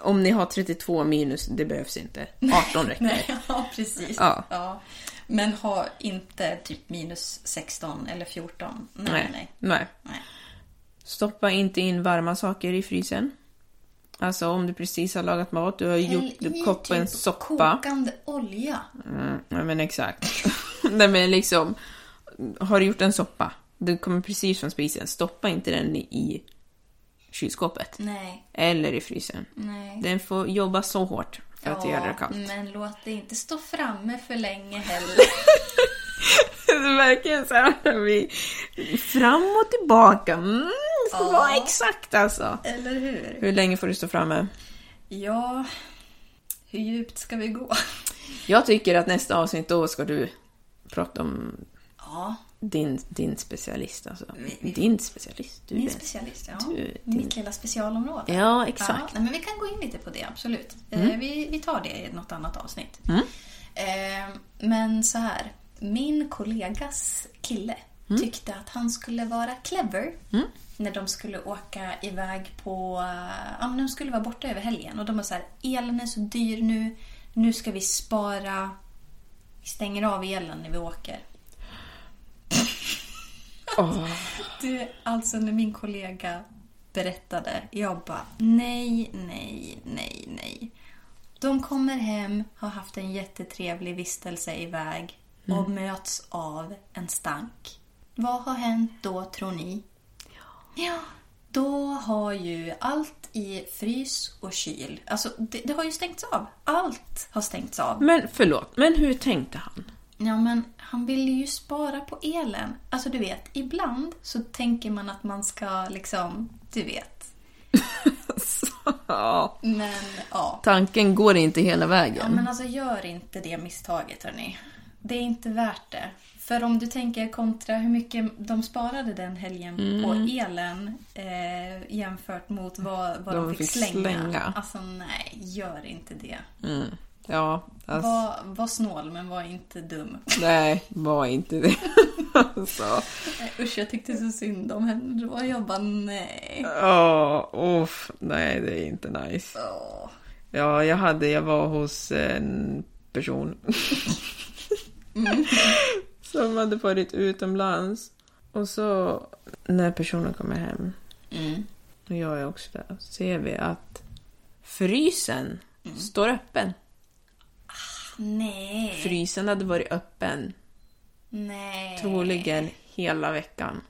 S4: om ni har 32 minus, det behövs inte. 18 räcker.
S6: Nej, ja precis.
S4: Ja.
S6: Men ha inte typ minus 16 eller 14. Nej, nej. nej.
S4: Nej. Stoppa inte in varma saker i frysen. Alltså om du precis har lagat mat, du har gjort
S6: Häll i
S4: kopp en
S6: typ
S4: soppa. Mm.
S6: kokande olja.
S4: Ja men exakt. Nej men liksom, har du gjort en soppa, den kommer precis från spisen, stoppa inte den i kylskåpet.
S6: Nej,
S4: Eller i frysen.
S6: nej.
S4: Den får jobba så hårt för att göra det kallt.
S6: men låt det inte stå framme för länge heller.
S4: Det är verkligen så här, vi fram och tillbaka. Mm, det ska
S6: Ja.
S4: vara exakt alltså.
S6: Eller hur?
S4: Hur länge får du stå framme?
S6: Ja, hur djupt ska vi gå?
S4: Jag tycker att nästa avsnitt då ska du prata om
S6: Ja,
S4: din, din specialist alltså.
S6: vi-
S4: Din specialist? Du
S6: min
S4: är-
S6: specialist. Ja.
S4: Du, din-
S6: Mitt lilla specialområde.
S4: Ja, exakt.
S6: Ja, nej, men vi kan gå in lite på det, absolut. Eh, Vi, vi tar det i något annat avsnitt. Eh, men så här, min kollegas kille tyckte att han skulle vara clever när de skulle åka iväg på... eh, Ja, men de skulle vara borta över helgen och de var så här, elen är så dyr nu, nu ska vi spara, vi stänger av elen när vi åker. Du, alltså när min kollega berättade, jag bara nej, nej, nej, nej. De kommer hem, har haft en jättetrevlig vistelse iväg och möts av en stank. Vad har hänt då tror ni? Ja, då har ju allt i frys och kyl, alltså det, det har ju stängts av. Allt har stängts av.
S4: Men förlåt, men hur tänkte han?
S6: Ja, men han ville ju spara på elen. Alltså du vet, ibland så tänker man att man ska liksom, du vet.
S4: Ja,
S6: Men ja.
S4: tanken går inte hela
S6: ja
S4: vägen.
S6: men alltså gör inte det misstaget hörni. Det är inte värt det. För om du tänker kontra hur mycket de sparade den helgen på elen eh, jämfört mot Mm. vad, vad de,
S4: De
S6: fick
S4: fick
S6: slänga.
S4: slänga.
S6: Alltså nej, gör inte det.
S4: Ja, alltså,
S6: Var, var snål men var inte dum.
S4: nej, var inte det. alltså,
S6: Eh, Usch, jag tyckte så synd om henne då. Jag bara nej.
S4: ja, uff, nej det är inte
S6: Äh.
S4: nice.
S6: Åh.
S4: Ja, jag hade, jag var hos en person som hade varit utomlands. Och så när personen kommer hem, och jag är också där, så ser vi att frysen står öppen.
S6: Nej.
S4: Frysen hade varit öppen
S6: Nej.
S4: troligen hela veckan.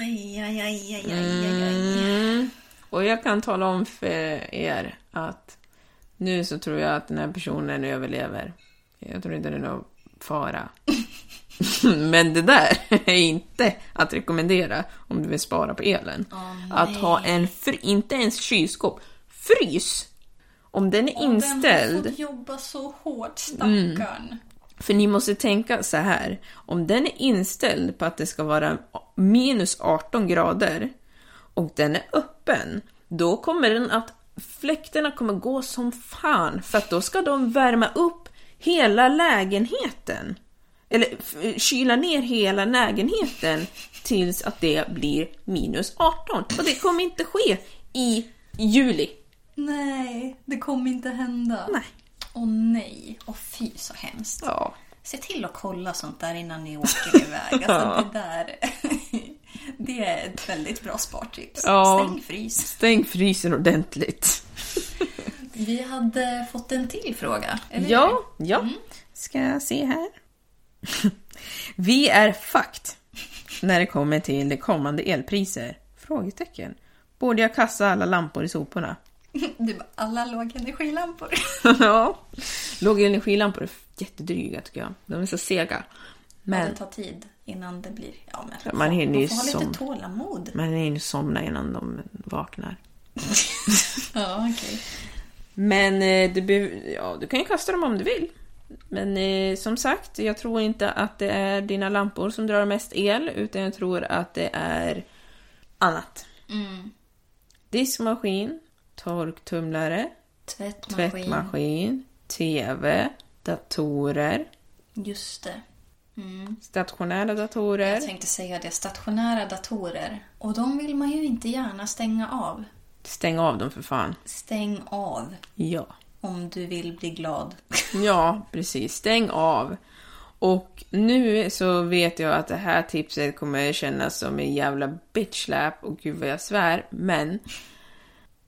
S6: Aj, aj, aj, aj, aj, aj,
S4: Mm.
S6: aj.
S4: Och jag kan tala om för er att nu så tror jag att den här personen överlever. Jag tror inte det är någon fara. Men det där är inte att rekommendera om du vill spara på elen. att ha en, fr- inte ens kylskåp, frys! Om den är
S6: Den
S4: inställd. Mm.
S6: har fått jobba så hårt, stackarn.
S4: För ni måste tänka så här. Om den är inställd på att det ska vara minus 18 grader och den är öppen, då kommer den att fläkterna kommer gå som fan för att då ska de värma upp hela lägenheten. Eller f- kyla ner hela lägenheten tills att det blir minus 18. Och det kommer inte ske i juli.
S6: Nej, det kommer inte hända.
S4: Nej.
S6: Åh nej, åh fy så hemskt.
S4: Ja.
S6: Se till att kolla sånt där innan ni åker iväg. Alltså det där. det är ett väldigt bra spartips.
S4: Ja.
S6: Stäng frys.
S4: Stäng frysen ordentligt.
S6: Vi hade fått en till fråga. eller
S4: Ja, ja. Mm. Ska jag se här. Vi är fucked när det kommer till det kommande elpriser? Frågetecken. Borde jag kasta alla lampor i soporna?
S6: hur? Du bara, alla lågenergilampor.
S4: ja. Lågenergilampor är jättedryga tycker jag. De är så sega.
S6: Men.
S4: Men
S6: Det tar tid innan det blir... Ja,
S4: Ja,
S6: men,
S4: man hinner ju
S6: får ha lite
S4: som-
S6: tålamod.
S4: man är ju somna innan de vaknar.
S6: Ja, okej.
S4: Men eh, du, behöver- ja, du kan ju kasta dem om du vill. Men eh, som sagt, jag tror inte att det är dina lampor som drar mest el, utan jag tror att det är annat. Diskmaskin, torktumlare,
S6: Tvättmaskin.
S4: tvättmaskin, TV, datorer,
S6: Just det.
S4: stationära datorer.
S6: Jag tänkte säga det. Stationära datorer. Och de vill man ju inte gärna stänga av.
S4: Stäng av dem för fan.
S6: Stäng av
S4: Ja.
S6: om du vill bli glad.
S4: Ja, precis. Stäng av. Och nu så vet jag att det här tipset kommer kännas som en jävla bitchlap och gud vad jag svär, men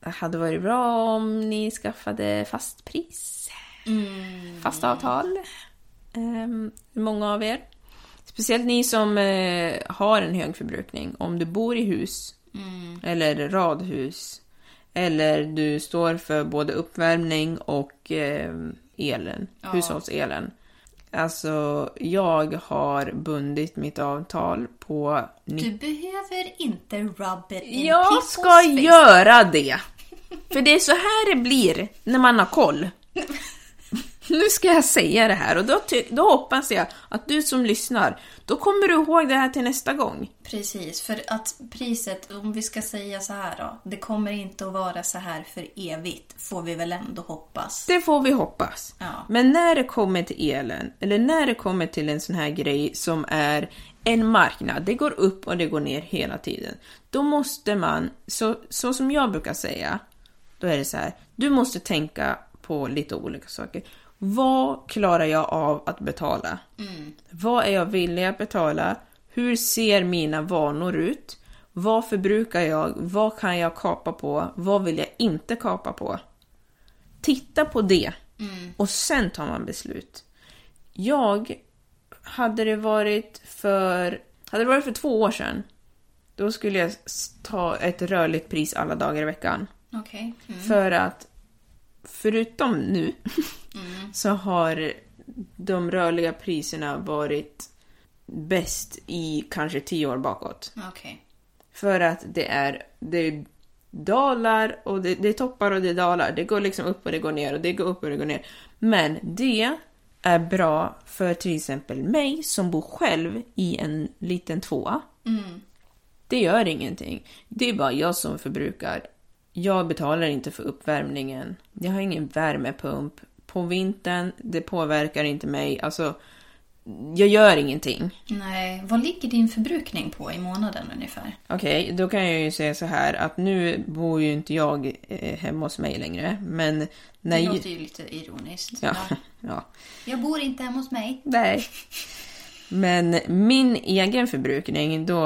S4: det hade varit bra om ni skaffade fast pris. Fast avtal. Ehm, många av er. Speciellt ni som eh, har en hög förbrukning. Om du bor i hus eller radhus eller du står för både uppvärmning och eh, elen, hushållselen. Alltså, jag har bundit mitt avtal på...
S6: Du behöver inte rub it in
S4: Jag
S6: people's
S4: ska
S6: face.
S4: göra det! För det är så här det blir när man har koll. Nu ska jag säga det här och då, ty- då hoppas jag att du som lyssnar, då kommer du ihåg det här till nästa gång.
S6: Precis, för att priset, om vi ska säga så här då. Det kommer inte att vara så här för evigt, får vi väl ändå hoppas.
S4: Det får vi hoppas.
S6: Ja.
S4: Men när det kommer till elen, eller när det kommer till en sån här grej som är en marknad, det går upp och det går ner hela tiden. Då måste man, så, så som jag brukar säga, då är det så här, du måste tänka på lite olika saker. Vad klarar jag av att betala?
S6: Mm.
S4: Vad är jag villig att betala? Hur ser mina vanor ut? Vad förbrukar jag? Vad kan jag kapa på? Vad vill jag inte kapa på? Titta på det och sen tar man beslut. Jag, hade det varit för, hade det varit för två år sedan, då skulle jag s- ta ett rörligt pris alla dagar i veckan.
S6: Okej. Mm.
S4: För att förutom nu så har de rörliga priserna varit bäst i kanske tio år bakåt.
S6: Okej.
S4: För att det är, det är dalar och det, det är toppar och det är dalar. Det går liksom upp och det går ner och det går upp och det går ner. Men det är bra för till exempel mig som bor själv i en liten tvåa. Det gör ingenting. Det är bara jag som förbrukar. Jag betalar inte för uppvärmningen. Jag har ingen värmepump. På vintern, det påverkar inte mig. Alltså, jag gör ingenting.
S6: Nej, vad ligger din förbrukning på i månaden ungefär?
S4: Okej, då kan jag ju säga så här att nu bor ju inte jag eh, hemma hos mig längre, men när...
S6: Det
S4: jag-
S6: låter ju lite ironiskt.
S4: Ja,
S6: Ja.
S4: ja.
S6: Jag bor inte hemma hos mig.
S4: Nej. Men min egen förbrukning, då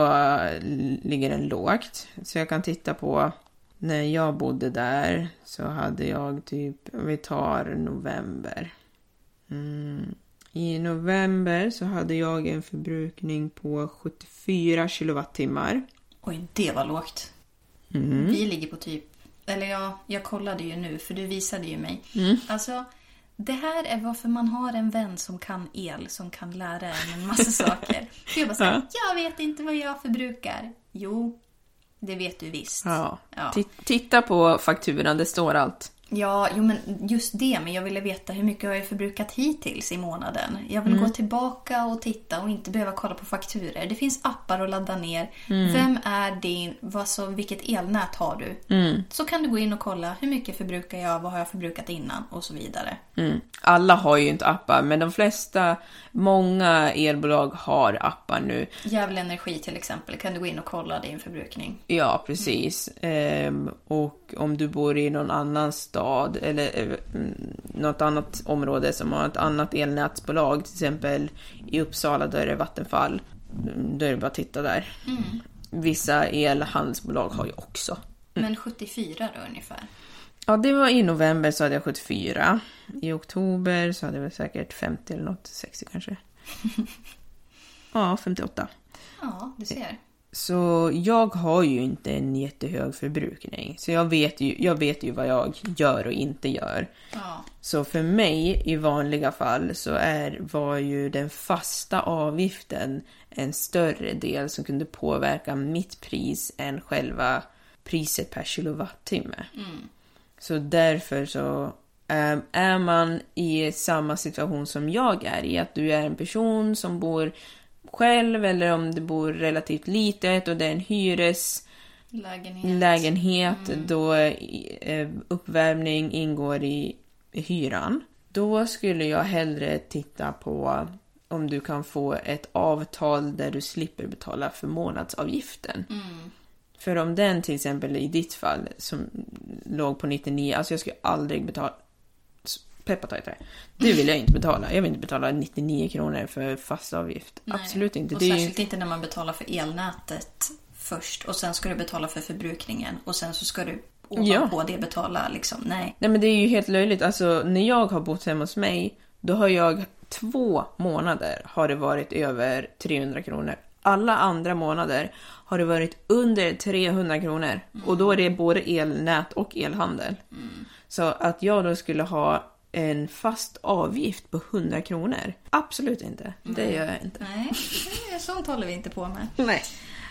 S4: ligger den lågt. Så jag kan titta på när jag bodde där så hade jag typ, om vi tar november. Mm. I november så hade jag en förbrukning på 74 kilowattimmar.
S6: Oj, det var lågt. Vi ligger på typ... Eller jag, jag kollade ju nu, för du visade ju mig. Alltså, det här är varför man har en vän som kan el, som kan lära en en massa saker. För jag bara så här, jag vet inte vad jag förbrukar. Jo, det vet du visst.
S4: Ja.
S6: Ja.
S4: Ti- Titta på fakturan, det står allt.
S6: Ja, jo men just det. Men jag ville veta hur mycket har jag förbrukat hittills i månaden. Jag vill gå tillbaka och titta och inte behöva kolla på fakturer. Det finns appar att ladda ner. Vem är din, vad så, vilket elnät har du? Så kan du gå in och kolla hur mycket förbrukar jag, vad har jag förbrukat innan och så vidare.
S4: Mm. Alla har ju inte appar, men de flesta, många elbolag har appar nu.
S6: Gävle Energi till exempel kan du gå in och kolla din förbrukning.
S4: Ja, precis. Ehm, och om du bor i någon annan stad eller eh, mm, något annat område som har ett annat elnätsbolag, till exempel i Uppsala, då är det Vattenfall. Mm, Då är det bara att titta där. Vissa elhandelsbolag har ju också.
S6: Men 74 då ungefär.
S4: Ja, det var i november så hade jag 74. I oktober så hade jag väl säkert 50 eller något, 60 kanske. ja, 58.
S6: Ja, du ser.
S4: Så jag har ju inte en jättehög förbrukning. Så jag vet ju, jag vet ju vad jag gör och inte gör.
S6: Ja.
S4: Så för mig i vanliga fall så är, var ju den fasta avgiften en större del som kunde påverka mitt pris än själva priset per kilowattimme. Så därför så eh, är man i samma situation som jag är i, att du är en person som bor själv eller om du bor relativt litet och det är en hyres
S6: Lägenhet. Mm.
S4: lägenhet då eh, uppvärmning ingår i hyran. Då skulle jag hellre titta på om du kan få ett avtal där du slipper betala för månadsavgiften.
S6: Mm.
S4: För om den till exempel i ditt fall som låg på 99, alltså jag skulle aldrig betala Peppartajtare. Det vill jag inte betala. Jag vill inte betala 99 kronor för fast avgift.
S6: Nej.
S4: Absolut inte.
S6: Och
S4: Det är ju-
S6: särskilt inte när man betalar för elnätet först och sen ska du betala för förbrukningen och sen så ska du ovanpå det betala liksom. Nej.
S4: Nej men det är ju helt löjligt. Alltså när jag har bott hemma hos mig, då har jag två månader har det varit över 300 kronor. Alla andra månader har det varit under 300 kronor. Och då är det både elnät och elhandel. Så att jag då skulle ha en fast avgift på 100 kronor? Absolut inte. Det gör jag inte.
S6: Nej, nej, sånt håller vi inte på med.
S4: Nej.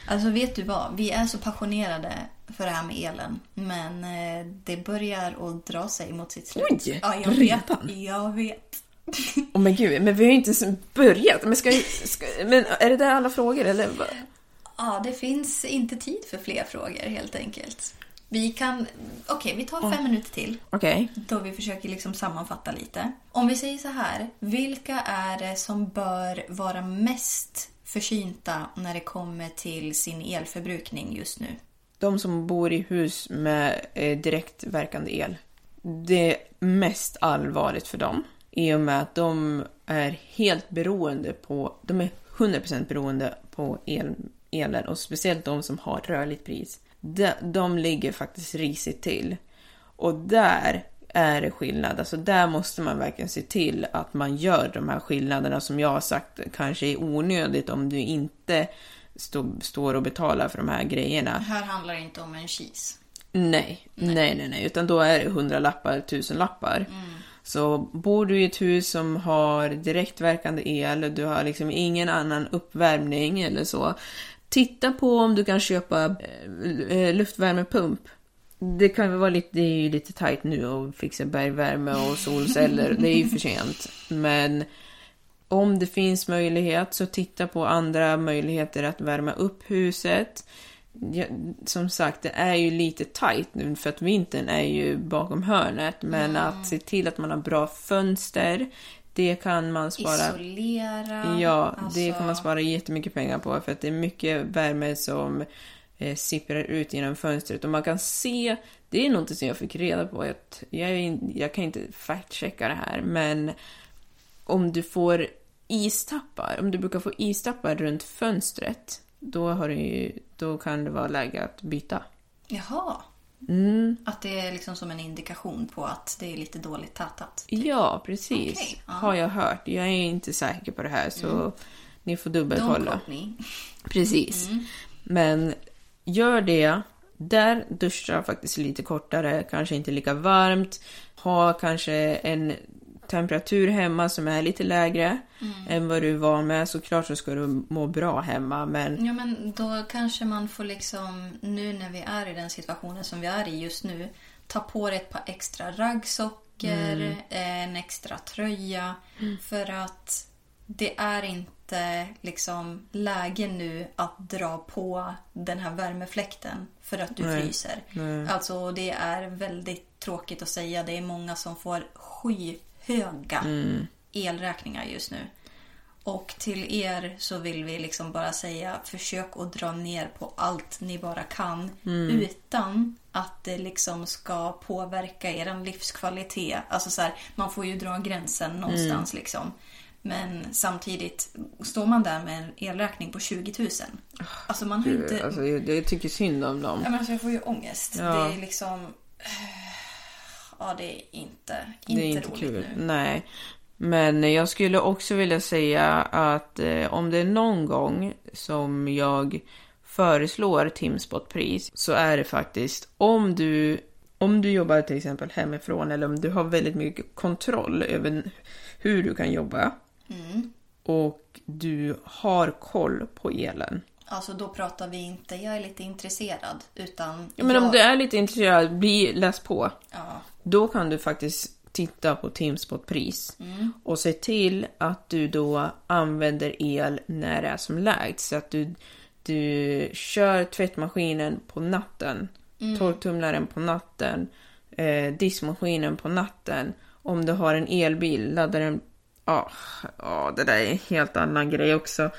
S6: Alltså vet du vad? Vi är så passionerade för det här med elen. Men eh, det börjar att dra sig mot sitt slut.
S4: Oj,
S6: ja, jag vet.
S4: redan?
S6: Jag vet.
S4: Åh men gud, men vi har ju inte ens börjat. Men, ska, ska, men är det där alla frågor eller? vad?
S6: Ja, det finns inte tid för fler frågor helt enkelt. Vi kan... Okej, vi tar fem minuter till.
S4: Okej.
S6: Då vi försöker liksom sammanfatta lite. Om vi säger så här, vilka är det som bör vara mest försynta när det kommer till sin elförbrukning just nu?
S4: De som bor i hus med eh, direktverkande el. Det är mest allvarligt för dem. I och med att de är helt beroende på, de är 100% beroende på el, elen och speciellt de som har rörligt pris. De, de ligger faktiskt risigt till. Och där är det skillnad. Alltså där måste man verkligen se till att man gör de här skillnaderna som jag har sagt kanske är onödigt om du inte stå, står och betalar för de här grejerna.
S6: Här handlar det inte om en cheese.
S4: Nej, nej, nej, nej. Utan då är det 100 lappar, 1000 lappar. Så bor du i ett hus som har direktverkande el, du har liksom ingen annan uppvärmning eller så. Titta på om du kan köpa eh, eh, luftvärmepump. Det kan väl vara lite, det är ju lite tajt nu att fixa bergvärme och solceller, det är ju för sent. Men om det finns möjlighet så titta på andra möjligheter att värma upp huset. Ja, som sagt, det är ju lite tajt nu för att vintern är ju bakom hörnet. Men att se till att man har bra fönster, det kan man spara.
S6: Isolera.
S4: Ja, det
S6: alltså,
S4: kan man spara jättemycket pengar på för att det är mycket värme som eh, sipprar ut genom fönstret och man kan se, det är något som jag fick reda på, jag, t- jag, är in, jag kan inte fact-checka det här, men om du får istappar, om du brukar få istappar runt fönstret, då, har du ju, då kan det vara läge att byta.
S6: Jaha.
S4: Mm.
S6: Att det är liksom som en indikation på att det är lite dåligt tätat.
S4: Ja, precis.
S6: Typ. Okej, ja. Mm.
S4: Har jag hört. Jag är inte säker på det här så ni får
S6: Don't
S4: dubbelkolla.
S6: quote me.
S4: Precis. Men gör det. Där duscha faktiskt lite kortare, kanske inte lika varmt. Ha kanske en temperatur hemma som är lite lägre än vad du var med. Såklart så ska du må bra hemma men
S6: Ja, men då kanske man får liksom, nu när vi är i den situationen som vi är i just nu, ta på dig ett par extra raggsockor, en extra tröja. För att det är inte liksom läge nu att dra på den här värmefläkten för att du fryser. Alltså det är väldigt tråkigt att säga, det är många som får skyhöga elräkningar just nu. Och till er så vill vi liksom bara säga försök att dra ner på allt ni bara kan
S4: Mm.
S6: utan att det liksom ska påverka er livskvalitet. Alltså så här, man får ju dra gränsen
S4: Mm.
S6: någonstans liksom. Men samtidigt står man där med en elräkning på 20 000. Alltså man har inte...
S4: Ah, alltså, jag, jag tycker synd om dem.
S6: Ja, men alltså jag får ju ångest.
S4: Ja.
S6: Det är liksom... Ja, det är inte, inte,
S4: det är inte
S6: roligt
S4: kul.
S6: nu.
S4: Nej. Men jag skulle också vilja säga att eh, om det är någon gång som jag föreslår Timspotpris så är det faktiskt om du, om du jobbar till exempel hemifrån eller om du har väldigt mycket kontroll över hur du kan jobba
S6: Mm.
S4: och du har koll på elen.
S6: Alltså då pratar vi inte, jag är lite intresserad, utan...
S4: Ja, men om
S6: jag-
S4: du är lite intresserad, bli, läs på.
S6: Ja.
S4: Då kan du faktiskt titta på Timspot-pris och se till att du då använder el när det är som lägst. Så att du, du kör tvättmaskinen på natten, torktumlaren på natten, eh, diskmaskinen på natten. Om du har en elbil, laddar den... Ja, ja, det där är en helt annan grej också.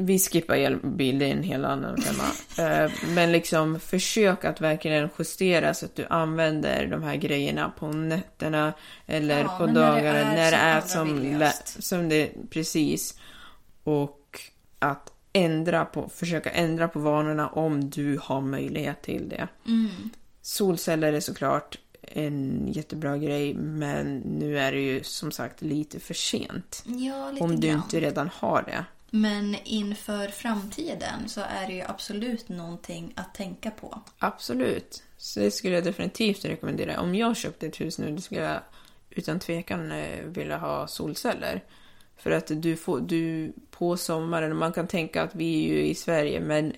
S4: Vi skippar elbil, det är en helt annan femma. Eh, Men liksom försök att verkligen justera så att du använder de här grejerna på nätterna eller
S6: Ja,
S4: på
S6: men när det
S4: dagarna
S6: är
S4: när det
S6: som
S4: är
S6: allra
S4: som,
S6: billigast.
S4: lä- som det precis. Och att ändra på, försöka ändra på vanorna om du har möjlighet till det.
S6: Mm.
S4: Solceller är såklart en jättebra grej men nu är det ju som sagt lite för sent.
S6: Ja, lite
S4: Om du
S6: grann.
S4: inte redan har det.
S6: Men inför framtiden så är det ju absolut någonting att tänka på.
S4: Absolut. Så det skulle jag definitivt rekommendera. Om jag köpte ett hus nu då skulle jag utan tvekan eh, vilja ha solceller. För att du får, du på sommaren, man kan tänka att vi är ju i Sverige men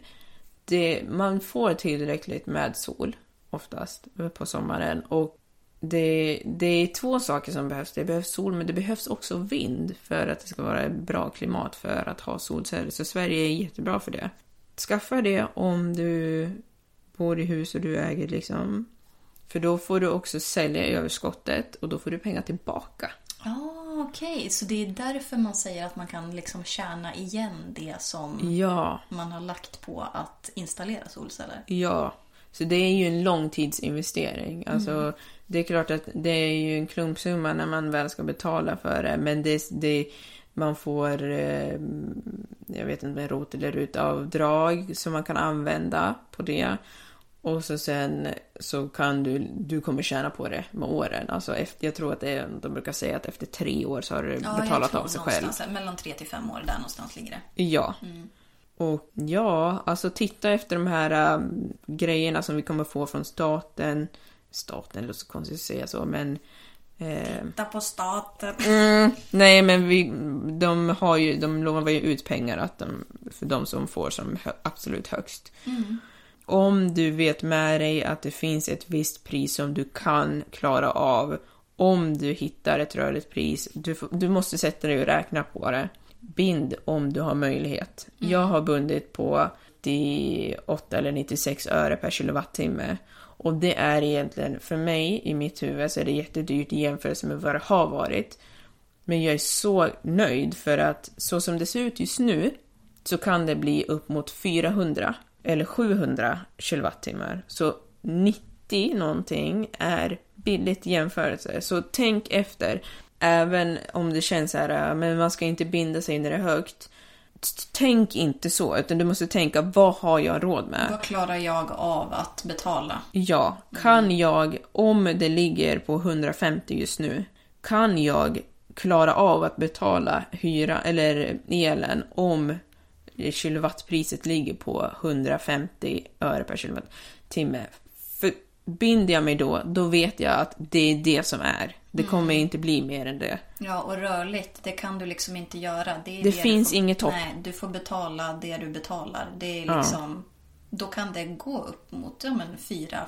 S4: det, man får tillräckligt med sol oftast på sommaren och det, det är två saker som behövs. Det behövs sol men det behövs också vind för att det ska vara ett bra klimat för att ha solceller. Så Sverige är jättebra för det. Skaffa det om du bor i hus och du äger liksom. För då får du också sälja överskottet och då får du pengar tillbaka.
S6: Ja, okej. Så det är därför man säger att man kan liksom tjäna igen det som
S4: Ja,
S6: man har lagt på att installera solceller.
S4: ja. Så det är ju en långtidsinvestering. Alltså,
S6: Mm.
S4: Det är klart att det är ju en klumpsumma när man väl ska betala för det. Men det, det, man får, eh, jag vet inte, rot eller rut avdrag som man kan använda på det. Och så sen så kan du, du kommer tjäna på det med åren. Alltså efter, jag tror att det är, de brukar säga att efter tre år så har du
S6: Ja, jag
S4: betalat
S6: tror
S4: av sig själv.
S6: någonstans, Mellan tre till fem år, där någonstans ligger det.
S4: Ja. Och ja, alltså titta efter de här ähm, grejerna som vi kommer få från staten. Staten, det låter så konstigt att säga så, men... eh,
S6: Titta på staten.
S4: Mm. nej, men vi, de, har ju, de lovar ju ut pengar att de, för de som får som hö, absolut högst. Om du vet med dig att det finns ett visst pris som du kan klara av om du hittar ett rörligt pris. Du, får- du måste sätta dig och räkna på det. Bind om du har möjlighet. Jag har bundit på 98 eller 96 öre per kilowattimme. Och det är egentligen, för mig i mitt huvud, så är det jättedyrt i jämförelse med vad det har varit. Men jag är så nöjd för att så som det ser ut just nu så kan det bli upp mot 400 eller 700 kilowattimmar. Så 90 någonting är billigt i jämförelse. Så tänk efter. Även om det känns så här, äh, men man ska inte binda sig när det är högt. T- Tänk inte så, utan du måste tänka vad har jag råd med?
S6: Vad klarar jag av att betala?
S4: Ja, kan jag, om det ligger på 150 just nu, kan jag klara av att betala hyra eller elen om kilowattpriset ligger på 150 öre per kilowattimme? För binder jag mig då, då vet jag att det är det som är. Det kommer inte bli mer än det.
S6: Ja, och rörligt, det kan du liksom inte göra. Det, är
S4: Det
S6: du
S4: finns
S6: får,
S4: inget hopp.
S6: Nej, du får betala det du betalar. Det är liksom... Då kan det gå upp mot ja, men 400-500.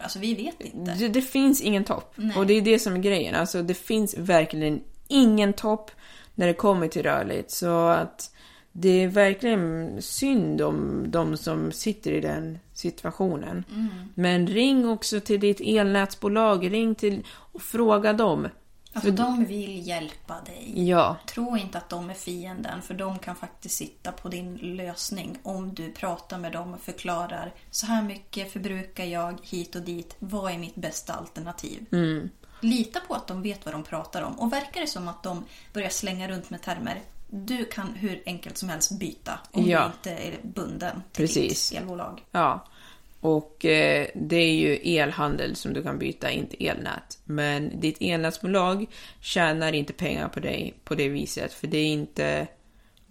S6: Alltså vi vet inte.
S4: Det, det finns ingen topp. Och det är det som är grejen. Alltså det finns verkligen ingen topp när det kommer till rörligt. Så att det är verkligen synd om de som sitter i den situationen. Men ring också till ditt elnätsbolag, ring till och fråga dem.
S6: Alltså de vill hjälpa dig.
S4: Ja,
S6: Tro inte att de är fienden för de kan faktiskt sitta på din lösning om du pratar med dem och förklarar så här mycket förbrukar jag hit och dit. Vad är mitt bästa alternativ?
S4: Mm.
S6: Lita på att de vet vad de pratar om och verkar det som att de börjar slänga runt med termer du kan hur enkelt som helst byta om
S4: Ja.
S6: du inte är bunden till
S4: Precis.
S6: ditt elbolag.
S4: ja. Och eh, det är ju elhandel som du kan byta, inte elnät. Men ditt elnätsbolag tjänar inte pengar på dig på det viset. För det är inte...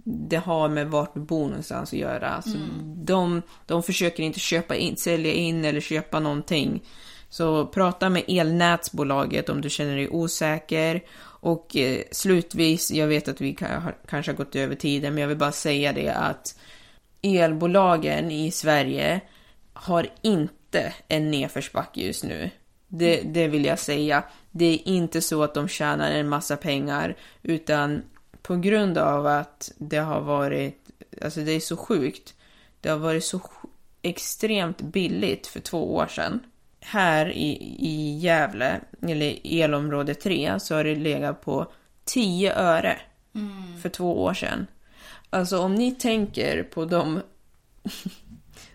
S4: det har med vart du bor någonstans att göra. Så de, de försöker inte köpa in, sälja in eller köpa någonting. Så prata med elnätsbolaget om du känner dig osäker. Och eh, slutvis, jag vet att vi ka- har, kanske har gått över tiden, men jag vill bara säga det att elbolagen i Sverige har inte en nedförsbacke just nu. Det, det vill jag säga. Det är inte så att de tjänar en massa pengar, utan på grund av att det har varit, alltså det är så sjukt, det har varit så sj- extremt billigt för två år sedan. Här i, i Gävle, eller elområde 3, så har det legat på 10 öre för två år sedan. Alltså om ni tänker på de,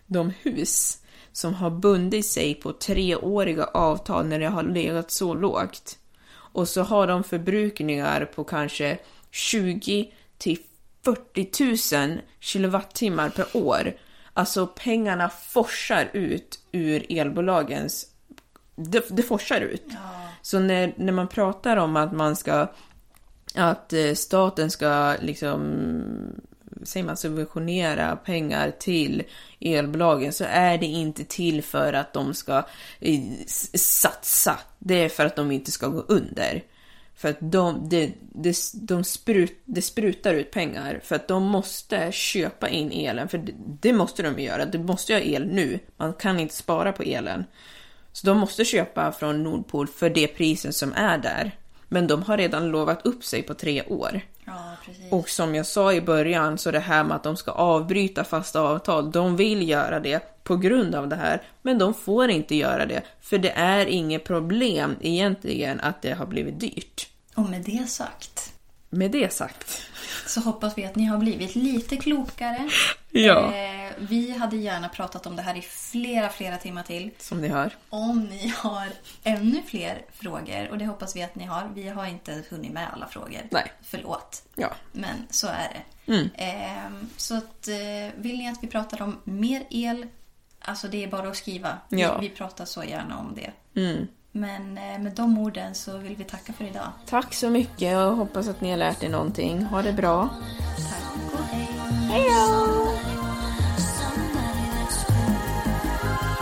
S4: de hus som har bundit sig på treåriga avtal när det har legat så lågt. Och så har de förbrukningar på kanske 20 till 40 000 kilowattimmar per år. Alltså pengarna forsar ut ur elbolagens... Det, det forsar ut. Så när, när man pratar om att man ska... Att eh, staten ska liksom säger man, subventionera pengar till elbolagen så är det inte till för att de ska eh, s- satsa. Det är för att de inte ska gå under. För att de, det- det- de sprut, det sprutar ut pengar för att de måste köpa in elen. För det, det måste de göra. Du måste ju ha el nu. Man kan inte spara på elen. Så de måste köpa från Nordpol för det prisen som är där. Men de har redan lovat upp sig på tre år.
S6: Ja, precis.
S4: Och som jag sa i början, så det här med att de ska avbryta fasta avtal, de vill göra det på grund av det här, men de får inte göra det, för det är inget problem egentligen att det har blivit dyrt.
S6: och med det sagt
S4: Med det sagt.
S6: så hoppas vi att ni har blivit lite klokare
S4: Ja,
S6: Eh, vi hade gärna pratat om det här i flera, flera timmar till.
S4: som ni hör.
S6: Om ni har ännu fler frågor, och det hoppas vi att ni har. Vi har inte hunnit med alla frågor.
S4: Nej.
S6: Förlåt.
S4: Ja. Mm.
S6: Men så är det. Ehm, så att, eh, vill ni att vi pratar om mer el, alltså det är bara att skriva.
S4: Ja. Mm.
S6: Vi, vi pratar så gärna om det. Men eh, med de orden så vill vi tacka för idag.
S4: Tack så mycket och hoppas att ni har lärt er någonting. Ha det bra.
S6: Tack och hej!
S7: Somebody that's cool.